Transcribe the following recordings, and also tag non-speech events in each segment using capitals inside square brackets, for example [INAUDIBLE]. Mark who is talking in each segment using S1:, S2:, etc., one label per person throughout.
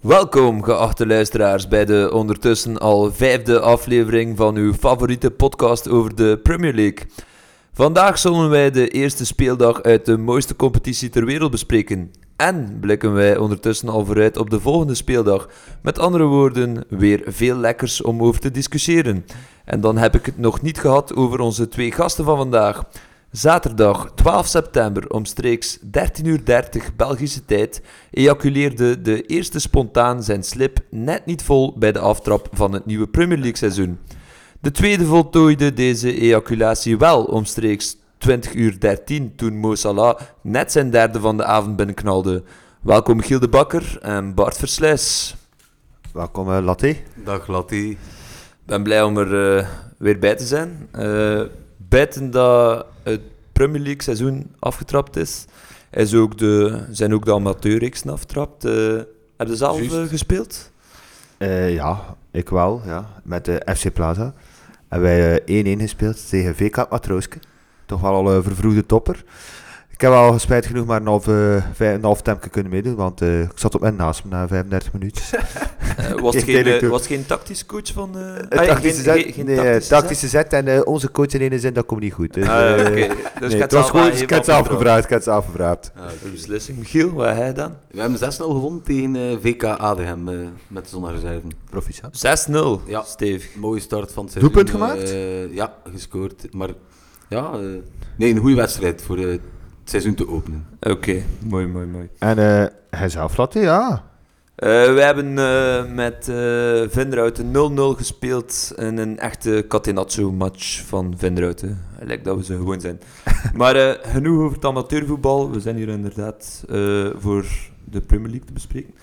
S1: Welkom, geachte luisteraars, bij de ondertussen al vijfde aflevering van uw favoriete podcast over de Premier League. Vandaag zullen wij de eerste speeldag uit de mooiste competitie ter wereld bespreken. En blikken wij ondertussen al vooruit op de volgende speeldag. Met andere woorden, weer veel lekkers om over te discussiëren. En dan heb ik het nog niet gehad over onze twee gasten van vandaag. Zaterdag 12 september omstreeks 13.30 uur Belgische tijd ejaculeerde de eerste spontaan zijn slip net niet vol bij de aftrap van het nieuwe Premier League seizoen. De tweede voltooide deze ejaculatie wel omstreeks 20 uur 13 toen Mo Salah net zijn derde van de avond binnenknalde. Welkom Giel de Bakker en Bart Versluis.
S2: Welkom, eh, Latte.
S3: Dag Latti.
S1: Ik ben blij om er eh, weer bij te zijn. Eh, buiten dat het Premier League seizoen afgetrapt is, is ook de, zijn ook de amateurreeksen afgetrapt. Eh, heb je zelf
S3: Juist.
S1: eh, gespeeld?
S2: Eh, ja, ik wel, ja. Met de FC Plaza. Hebben wij eh, 1-1 gespeeld tegen VK Matrooske. Toch wel al een vervroegde topper. Ik heb wel spijt genoeg maar een half, eh, vij- een half tempje kunnen meedoen, want eh, ik zat op mijn naast me na 35 minuten.
S1: [LAUGHS]
S2: [LAUGHS]
S1: Eh, was, het geen,
S2: Ik denk
S1: eh,
S2: het ook.
S1: was het geen tactisch coach van... eh, ah,
S2: Een
S1: ja,
S2: tactische
S1: geen-
S2: zet,
S1: geen- geen
S2: nee, eh,
S1: tactische
S2: tactische zet en eh, onze coach in ene zin, dat komt niet goed. Dus,
S1: zet? Ah, ja,
S2: eh,
S1: oké.
S2: nee,
S1: Dus je hebt
S2: het was
S1: zelf
S2: gewoon,
S1: aan je
S2: ik heb het
S1: vertrouwen.
S2: afgevraagd, ik heb het afgevraagd.
S1: De beslissing. Michiel, wat heb jij dan?
S3: We hebben 6-0 gewonnen tegen eh, VK Adenhem eh, met de zonnereserven.
S2: Proficiat.
S1: 6-0,
S3: Ja.
S1: stevig.
S3: Mooie start van het seizoen.
S2: Doelpunt
S3: eh,
S2: gemaakt?
S3: eh, ja, gescoord. Maar ja, eh, nee, een goede wedstrijd voor eh, het seizoen te openen.
S1: Oké, mooi, mooi, mooi.
S2: En eh hij zelf, Latte, ja.
S1: Eh, we hebben eh, met eh Vinderuiten 0-0 gespeeld in een echte Catenaccio-match van Vinderuiten. Lijkt dat we ze gewoon zijn. maar eh, genoeg over het amateurvoetbal. We zijn hier inderdaad eh, voor de Premier League te bespreken.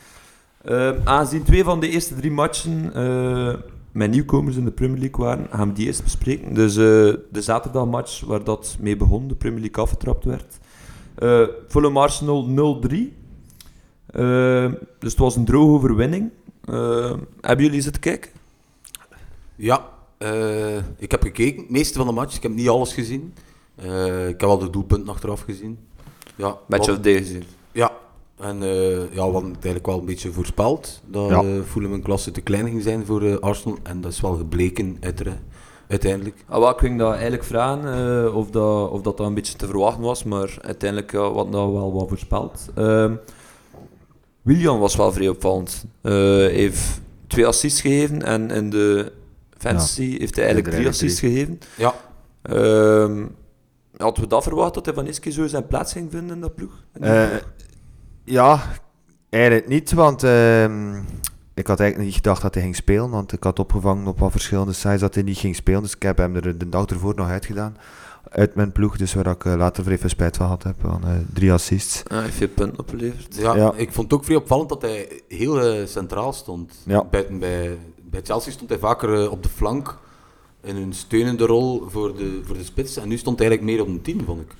S1: Eh, aangezien twee van de eerste drie matchen eh, met nieuwkomers in de Premier League waren, gaan we die eerst bespreken. Dus eh, de zaterdagmatch waar dat mee begon, de Premier League afgetrapt werd. Eh Fulham Arsenal 0-3. Eh, dus het was een droge overwinning. Eh, hebben jullie zitten kijken?
S3: Ja, eh, ik heb gekeken. Het meeste van de match. Ik heb niet alles gezien. Eh, ik heb al de doelpunten achteraf gezien. Ja,
S1: Match
S3: wat-
S1: of day gezien.
S3: Ja, en eh, ja, we hadden het eigenlijk wel een beetje voorspeld dat
S2: Ja.
S3: eh Fulham een klasse te klein ging zijn voor eh, Arsenal. En dat is wel gebleken uitere- uiteindelijk.
S1: Ah, wel, ik ging dat eigenlijk vragen eh, of, dat, of dat dat een beetje te verwachten was, maar uiteindelijk ja, wat nou wel wat voorspeld. Ehm, William was wel vrij opvallend. Eh, heeft twee assists gegeven en in de fantasy heeft hij eigenlijk
S2: In de
S1: drie assists gegeven.
S3: Ja,
S1: Ehm, hadden we dat verwacht, dat hij van Iske zo zijn plaats ging vinden in dat ploeg?
S2: Eh, ja, eigenlijk niet, want ehm, ik had eigenlijk niet gedacht dat hij ging spelen, want ik had opgevangen op wat verschillende sites dat hij niet ging spelen, dus ik heb hem er de dag ervoor nog uitgedaan uit mijn ploeg, dus waar ik eh, later vrij veel spijt van had heb, van eh, drie assists.
S1: Ah, hij heeft veel punten opgeleverd.
S3: ja,
S2: Ja.
S3: ik vond het ook vrij opvallend dat hij heel eh, centraal stond.
S2: Ja.
S3: Buiten bij, bij Chelsea stond hij vaker eh, op de flank in een steunende rol voor de, voor de spits. En nu stond hij eigenlijk meer op een team, vond ik.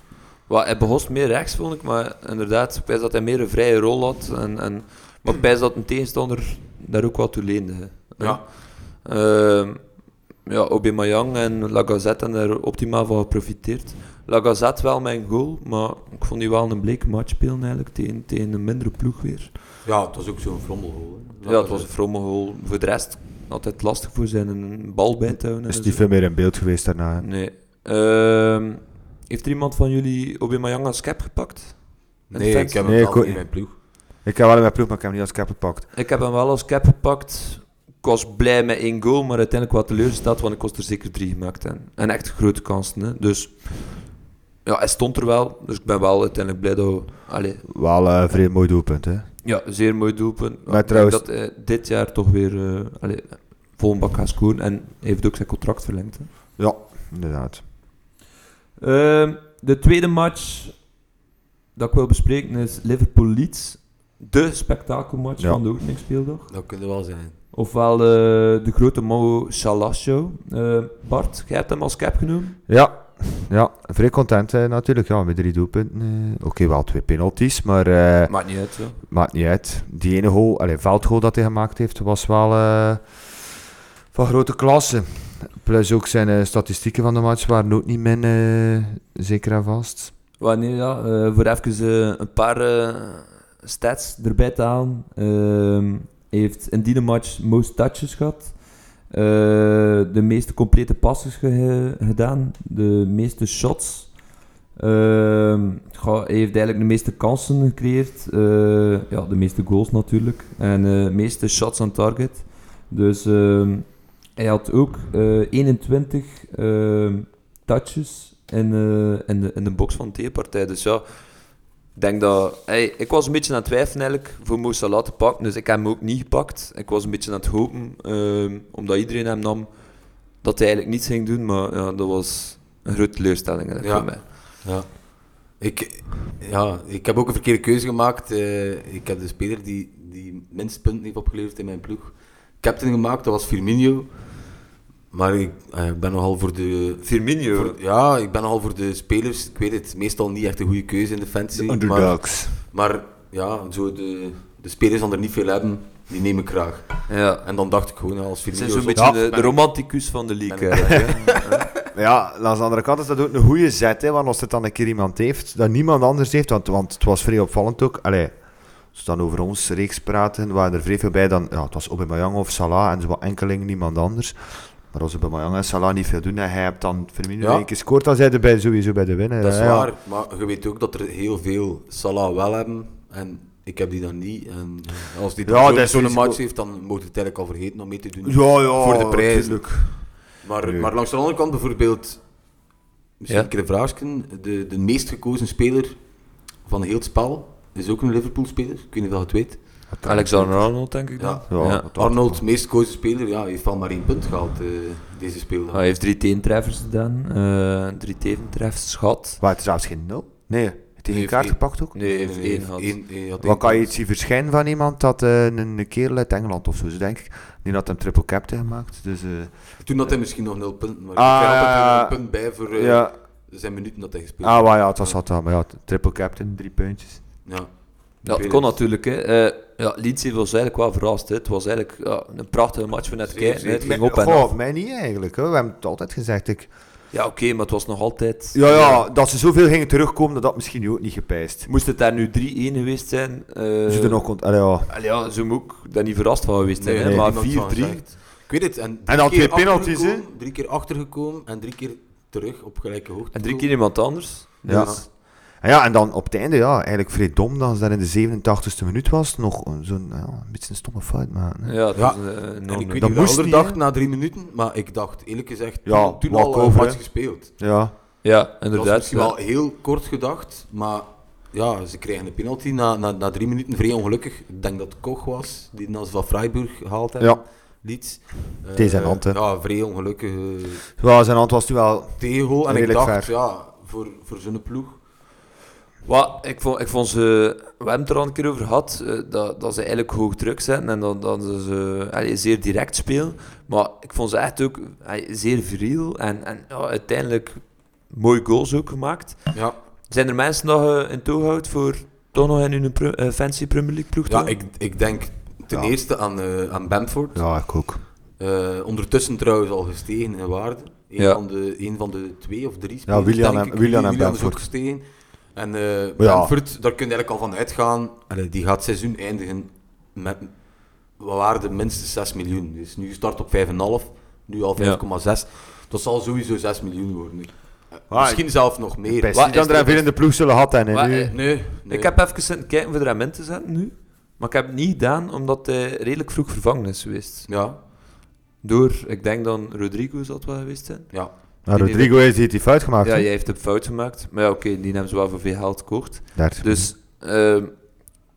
S1: Wel, hij begon meer rechts, vond ik, maar inderdaad, ik wijs dat hij meer een vrije rol had. En, en, maar ik wijs dat een tegenstander daar ook wat toe leende. hè.
S3: Ja.
S1: Ehm, ja, Aubameyang en Lacazette hebben daar optimaal van geprofiteerd. Lacazette wel mijn goal, maar ik vond die wel een bleke match spelen eigenlijk, tegen, tegen een mindere ploeg weer.
S3: Ja, het was ook zo'n frommelgoal. hè.
S1: Ja, het was een vromme goal. Voor de rest, altijd lastig voor zijn een bal bij te houden. en
S2: Is niet
S1: zo.
S2: veel meer in beeld geweest daarna. hè.
S1: Nee. Ehm, heeft er iemand van jullie Aubameyang als cap gepakt? Een
S3: Nee, ik
S1: defensie?
S3: heb
S2: Nee,
S3: hem
S2: ik
S3: wel
S2: ook
S3: in
S2: niet.
S3: mijn ploeg.
S2: Ik heb wel in mijn ploeg, maar ik heb hem niet als cap gepakt.
S1: Ik heb hem wel als cap gepakt. Ik was blij met één goal, maar uiteindelijk wat teleurgesteld, want ik was er zeker drie gemaakt. En, en echt grote kansen. Hè. Dus ja, hij stond er wel. Dus ik ben wel uiteindelijk blij dat... we- Allee,
S2: Wel eh, een vrij mooi doelpunt, hè.
S1: ja, zeer mooi doelpunt.
S2: Maar
S1: Ik denk
S2: trouwens-
S1: Dat hij dit jaar toch weer eh allee, vol een bak gaat scoren. En hij heeft ook zijn contract verlengd. hè.
S2: Ja, inderdaad.
S1: Ehm, de tweede match dat ik wil bespreken is Liverpool-Leeds. De spektakelmatch
S2: Ja.
S1: van de oefeningsspeeldag.
S3: Dat kunnen wel zijn.
S1: Ofwel eh, de grote Mo Salah show. Eh, Bart, jij hebt hem als cap genomen.
S2: Ja, ja vrij content eh, natuurlijk, ja, met drie doelpunten. eh. Oké, wel twee penalties, maar... eh,
S1: Maakt niet uit, ja.
S2: Maakt niet uit. Die ene goal, allee, veldgoal dat hij gemaakt heeft, was wel eh, van grote klasse. Plus ook zijn eh, statistieken van de match waren ook niet min, eh, zeker en vast.
S1: Maar nee, ja eh, voor even eh, een paar eh, stats erbij te halen. Ehm, heeft in die match most touches gehad. eh, de meeste complete passes ge- gedaan. De meeste shots. Ehm, goh, hij heeft eigenlijk de meeste kansen gecreëerd. eh, ja, de meeste goals natuurlijk. En eh, de meeste shots aan target. Dus ehm, hij had ook eh, 21 ehm, touches in, eh, in, de, in de box van de tegenpartij. Dus ja, ik denk dat... Hey, ik was een beetje aan het twijfelen eigenlijk voor Mo Salah te pakken. Dus ik heb hem ook niet gepakt. Ik was een beetje aan het hopen, ehm, omdat iedereen hem nam, dat hij eigenlijk niets ging doen. Maar ja, dat was een grote teleurstelling eigenlijk
S3: Ja.
S1: voor mij.
S3: Ja. Ik, ja, ik heb ook een verkeerde keuze gemaakt. Eh, ik heb de speler die, die minst punten heeft opgeleverd in mijn ploeg. Captain gemaakt, dat was Firmino. Maar ik eh, ik ben nogal voor de...
S1: Firmino.
S3: voor- ja, ik ben nogal voor de spelers. Ik weet het, meestal niet echt een goede keuze in defensie.
S2: De
S3: maar,
S2: underdogs.
S3: maar ja, zo de, de spelers die er niet veel hebben, die neem ik graag.
S1: Ja.
S3: En dan dacht ik gewoon, ja, als
S1: Ze
S3: Firmino...
S1: zijn zo'n
S3: zot-
S1: beetje
S2: Ja,
S1: de, de romanticus van de league.
S3: eh.
S1: hè.
S2: [LAUGHS] Ja, aan de andere kant is dat ook een goede zet, hè, want als het dan een keer iemand heeft, dat niemand anders heeft, want, want het was vrij opvallend ook. Allee, als we dan over ons reeks praten, waren er vrij veel bij dan, ja, het was Aubameyang of Salah en zo wat enkeling, niemand anders. Maar als Aubameyang en Salah niet veel doen en hij hebt dan Firmino
S3: Ja.
S2: één keer scoort, dan zijn ze bij, sowieso bij de winnaar.
S3: Dat is
S2: hè, ja.
S3: waar, maar je weet ook dat er heel veel Salah wel hebben en ik heb die dan niet. En eh, als die
S2: Ja,
S3: dan zo'n-
S2: dat is
S3: zo'n
S2: risico.
S3: match heeft, dan moet het eigenlijk al vergeten om mee te doen.
S2: Ja, ja,
S3: Voor de prijzen.
S2: tuurlijk.
S3: Maar,
S2: Nee.
S3: maar langs de andere kant bijvoorbeeld, misschien
S1: Ja.
S3: een keer een vraagje, de, de meest gekozen speler van heel het spel is ook een Liverpool-speler, ik weet niet of je het weet.
S1: Alexander Arnold, denk ik dan.
S3: Ja.
S2: Ja,
S1: Ja.
S2: dat was-
S3: Arnold, meest gekozen speler, ja, heeft al maar één punt gehaald eh, deze speeldag.
S1: Hij heeft drie teentreffers gedaan, eh, drie teventreffers gehad.
S2: Waar het zelfs geen nul? Nee, het heeft
S3: Nee,
S2: geen kaart
S3: één.
S2: gepakt ook.
S1: Nee, hij heeft één gehad.
S3: één- één had één
S2: Wat kan je
S3: punt.
S2: iets zien verschijnen van iemand dat eh, een, een kerel uit Engeland of zo, is, denk ik, die had hem triple captain gemaakt. Dus, eh,
S3: Toen had hij misschien nog nul punten, maar
S2: Ah,
S3: ik had
S2: ja,
S3: er
S2: ja.
S3: een punt bij voor eh,
S2: ja.
S3: zijn minuten dat hij gespeeld
S2: Ah, maar ja, het was dat dan. Maar ja, triple captain, drie puntjes.
S3: Ja.
S1: Ja, dat kon natuurlijk. Hè. Eh, ja, Leeds heeft ons eigenlijk wel verrast. Hè. Het was eigenlijk ja, een prachtige match voor net
S3: Zeker,
S1: kijken. hè. Het
S3: zeker.
S1: ging op en
S2: Goh,
S1: af.
S2: mij niet eigenlijk. Hè. We hebben het altijd gezegd. Ik...
S1: Ja, oké, maar het was nog altijd...
S2: Ja, ja, dat ze zoveel gingen terugkomen, dat had misschien ook niet gepijst.
S1: Moest het daar nu 3-1 geweest zijn... eh,
S2: Ze er nog kon... Allee, ja.
S1: allee, ja, ze moet ook daar niet verrast van geweest zijn.
S3: Nee,
S1: hè.
S2: nee.
S1: Maar
S3: niemand van
S1: 4-3...
S3: gezegd. Ik weet het. En, drie
S2: dan
S3: keer
S2: twee penalties, hè?
S3: achtergekomen, Drie keer achtergekomen en drie keer terug op gelijke hoogte.
S1: En drie keer
S3: gekomen.
S1: iemand anders.
S2: Ja.
S1: Dus,
S2: En Ah, ja, en dan op het einde, ja, eigenlijk vrij dom dat ze daar in de 87e minuut was. Nog een- zo'n, ja, een beetje een stomme fout maken. hè.
S1: ja, dat
S3: Ja.
S1: is eh, een enorme-
S3: En ik weet
S2: Dat
S3: niet wat
S2: moest
S3: Alder
S2: niet,
S3: dacht
S2: hè?
S3: na drie minuten, maar ik dacht eerlijk gezegd
S2: Ja,
S3: toen, toen al een
S2: walkover,
S3: match
S2: hè?
S3: gespeeld.
S2: Ja.
S1: Ja,
S3: Dat was
S1: inderdaad.
S3: misschien
S1: ja.
S3: wel heel kort gedacht, maar ja, ze kregen een penalty na, na, na drie minuten, vrij ongelukkig. Ik denk dat het Koch was, die dan van Freiburg gehaald hebben.
S2: Ja.
S3: Leeds. Eh,
S2: Deze zijn hand, hè.
S3: Ja, vrij ongelukkige
S2: ja, zijn hand was nu wel...
S3: tegel. En ik
S2: Redelijk
S3: dacht,
S2: ver.
S3: ja, voor, voor zo'n ploeg.
S1: Wat, ik, vond, ik vond ze, we hebben het er al een keer over gehad, eh, dat, dat ze eigenlijk hoog druk zijn en dat, dat ze eh, allee, zeer direct spelen. Maar ik vond ze echt ook allee, zeer viriel en, en ja, uiteindelijk mooie goals ook gemaakt.
S3: Ja.
S1: Zijn er mensen nog eh, in toog houdt voor toch nog in hun pre- eh, fancy Premier League ploeg?
S3: Ja,
S1: te-
S3: ik, ik denk ten
S2: Ja.
S3: eerste aan, eh, aan Bamford.
S2: Ja, ik ook.
S3: Eh, ondertussen trouwens al gestegen in waarde. Eén
S1: Ja.
S3: van, de, één van de twee of drie spelers,
S2: Willian
S3: denk
S2: en-
S3: ik.
S2: Willian en
S3: is
S2: Bamford.
S3: ook gestegen. En eh
S2: Ja.
S3: Bamford, daar kun je eigenlijk al van uitgaan. Allee, die gaat het seizoen eindigen met waarde minstens 6 miljoen. Dus nu start op 5,5, nu al 5,6. Dat zal sowieso 6 miljoen worden. Eh,
S2: Maar
S3: Misschien zelf nog meer.
S2: Pijst
S1: Wat
S2: niet dat
S1: is
S2: er
S1: er-
S2: veel in de ploeg zullen gehad hebben. hè,
S1: Wat,
S2: nu.
S1: eh,
S3: Nee, nee.
S1: Ik heb even zitten kijken voor de hem in te zetten nu, maar ik heb het niet gedaan omdat hij redelijk vroeg vervangen is geweest.
S3: Ja,
S1: Door, ik denk dan Rodrigo zal het wel geweest zijn.
S3: ja.
S2: Maar
S1: die-
S2: Rodrigo heeft die- die fout gemaakt.
S1: Ja,
S2: hè?
S1: jij heeft een fout gemaakt. Maar ja, oké, die hebben ze wel voor veel geld gekocht.
S2: Daar.
S1: Dus ehm,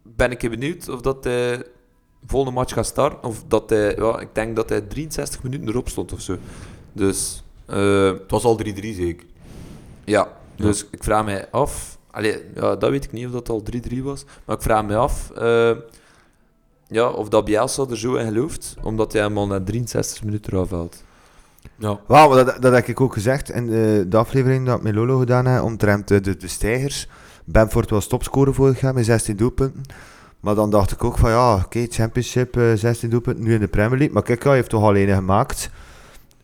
S1: ben ik benieuwd of dat hij volgende match gaat starten. Of dat hij, ja, ik denk dat hij 63 minuten erop stond of zo. Dus eh,
S3: Het was al 3-3 zeker.
S1: ja, dus ik vraag mij af. Allee, ja, dat weet ik niet of dat al 3-3 was. Maar ik vraag mij af eh, ja, of dat Bielsa er zo in gelooft. Omdat hij hem al na 63 minuten eraf haalt.
S3: Ja.
S2: Wauw, maar dat, dat heb ik ook gezegd in eh, de aflevering dat ik met Lolo gedaan heb, omtrent eh, de, de stijgers. Benford was topscorer vorig jaar met 16 doelpunten. Maar dan dacht ik ook van ja, oké, championship, eh, 16 doelpunten, nu in de Premier League. Maar kijk, hij heeft toch alleen gemaakt.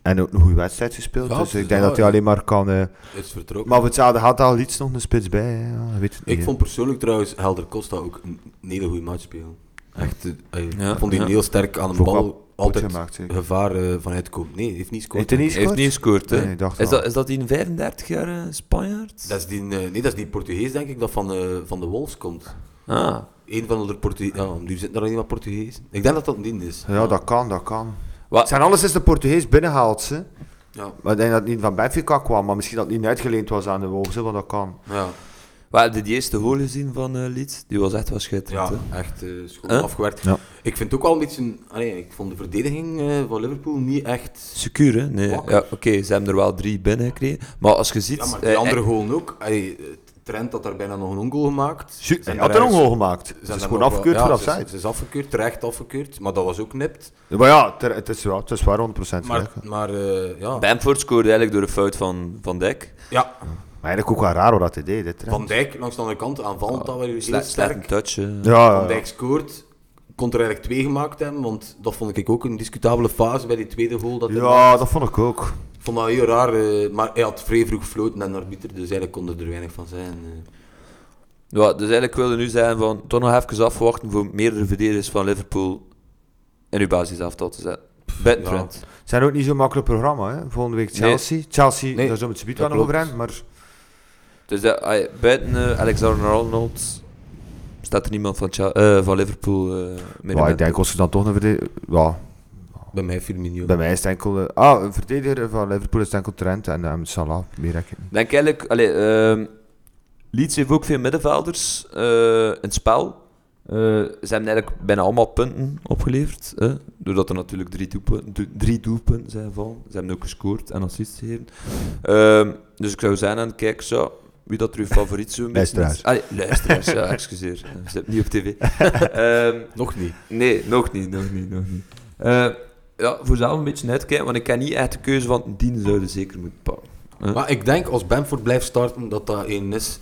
S2: En ook een goede wedstrijd gespeeld.
S3: Ja,
S2: dus
S3: het
S2: ik
S3: is
S2: denk
S3: wel,
S2: dat hij
S3: ja.
S2: alleen maar kan... eh,
S3: Is vertrokken.
S2: maar voor hetzelfde had al iets nog een spits bij. hè. Ja, je weet het
S3: Ik
S2: niet, hè.
S3: vond persoonlijk trouwens Helder Costa ook een, een hele goede match spelen. Echt, eh, ey,
S1: Ja,
S3: ik vond hij
S1: ja.
S3: heel sterk aan de
S2: Vond ik wel
S3: bal. Altijd
S2: gemaakt, zeker.
S3: gevaar eh, vanuit komen. Nee, heeft niet
S2: Heeft
S3: gescoord.
S2: hij niet
S1: Hij heeft
S2: gescoord?
S1: niet gescoord, hè?
S2: Nee, ik dacht
S1: is,
S2: wel.
S1: dat, is dat die 35 jaar eh, Spanjaard?
S3: Dat is die, eh, nee, dat is die Portugees, denk ik, dat van, eh, van de Wolves komt.
S1: Ah,
S3: Eén van de Portugees. Ja, nu zit er alleen maar Portugees. Ik denk dat dat niet is.
S2: Ja, dat kan, dat kan.
S1: Wat-
S2: Het zijn alles is de Portugees binnengehaald, ze.
S3: Ja.
S2: Maar ik denk dat het niet van Benfica kwam, maar misschien dat het niet uitgeleend was aan de Wolves, hè, want dat kan.
S3: Ja,
S1: wat heb je die eerste goal gezien van eh Leeds? Die was echt wel schitterend,
S3: ja
S1: hè?
S3: echt eh, schoon
S1: Huh?
S3: afgewerkt.
S2: Ja.
S3: Ik vind ook wel een beetje... Allee, ik vond de verdediging eh, van Liverpool niet echt...
S1: Secuur, hè? Nee. Ja,
S3: Wakker.
S1: Oké, ze hebben er wel drie binnen gekregen. Maar als je ziet...
S3: Ja, maar
S1: eh,
S3: die andere goal ook. Allee, eh, Trent had daar bijna nog een ongoal gemaakt. Ze
S2: Hij
S3: zijn
S2: had er
S3: daar
S2: een
S3: ergens-
S2: goal gemaakt.
S3: ze
S2: Het
S3: zijn
S2: is
S3: daar
S2: gewoon
S3: nog wel-
S2: afgekeurd
S3: ja,
S2: voor
S3: ze is-
S2: afzijde.
S3: Ze is afgekeurd, terecht afgekeurd. Maar dat was ook nipt.
S2: Maar ja, het, het is, wel- het is waar 100%
S3: Maar,
S2: gelijk.
S3: maar eh, ja.
S1: Bamford scoorde eigenlijk door een fout van Van Dijk.
S3: ja,
S2: Maar eigenlijk ook wel raar hoe dat hij deed, dit, hè.
S3: Van Dijk langs de andere kant aanvallend, dat was heel
S1: Sle- slecht een
S3: sterk.
S1: touch. eh.
S2: Ja, ja,
S3: Van
S2: ja.
S3: Dijk scoort. Kon er eigenlijk twee gemaakt hebben, want dat vond ik ook een discutabele fase bij die tweede goal. Dat hij maakte.
S2: Ja, dat vond ik ook.
S3: Ik vond dat heel raar, eh, maar hij had vrij vroeg floten en arbiter, dus eigenlijk kon er er weinig van zijn. eh.
S1: Ja, dus eigenlijk wilde nu zeggen van toch nog even afwachten voor meerdere verdedigers van Liverpool in uw basisaftal te zetten. Ben
S3: ja.
S1: Trent.
S2: Het zijn ook niet zo'n makkelijk programma, hè. Volgende week Chelsea. Chelsea,
S3: Nee,
S2: daar zullen we het subiet
S3: dat
S2: wel nog over
S3: klopt.
S2: hebben, maar...
S1: Dus dat, ah, buiten eh, Alexander Arnold staat er niemand van, Chel- eh, van Liverpool eh meer in
S2: Ja, ik
S1: Bent.
S2: denk als ze dan toch een verdediger... Ja,
S3: Bij mij Firmino.
S2: bij mij is het enkel... eh, Ah, een verdediger van Liverpool is het enkel Trent en ehm, Salah, meer denk
S3: Oh,
S2: ik niet.
S1: denk eigenlijk, allee, ehm, Leeds heeft ook veel middenvelders eh, in het spel. Eh, ze hebben eigenlijk bijna allemaal punten opgeleverd. hè, doordat er natuurlijk drie doelpunten, do- drie doelpunten zijn gevallen. Ze hebben ook gescoord en assists gegeven. Ehm, dus ik zou zeggen aan het kijken, zo, wie dat er uw favoriet zo'n beetje is.
S2: Luisteraars.
S1: Allee, luisteraars,
S3: [LAUGHS]
S1: ja, excuseer. eh, Ze zit niet op tv. Ehm,
S3: Nog niet.
S1: Nee, nog niet, nog niet, nog niet. Eh, ja, voor zelf een beetje uitkijken, want ik kan niet echt de keuze van die zouden zeker moeten pakken.
S3: Maar ik denk als Bamford blijft starten, dat dat één is.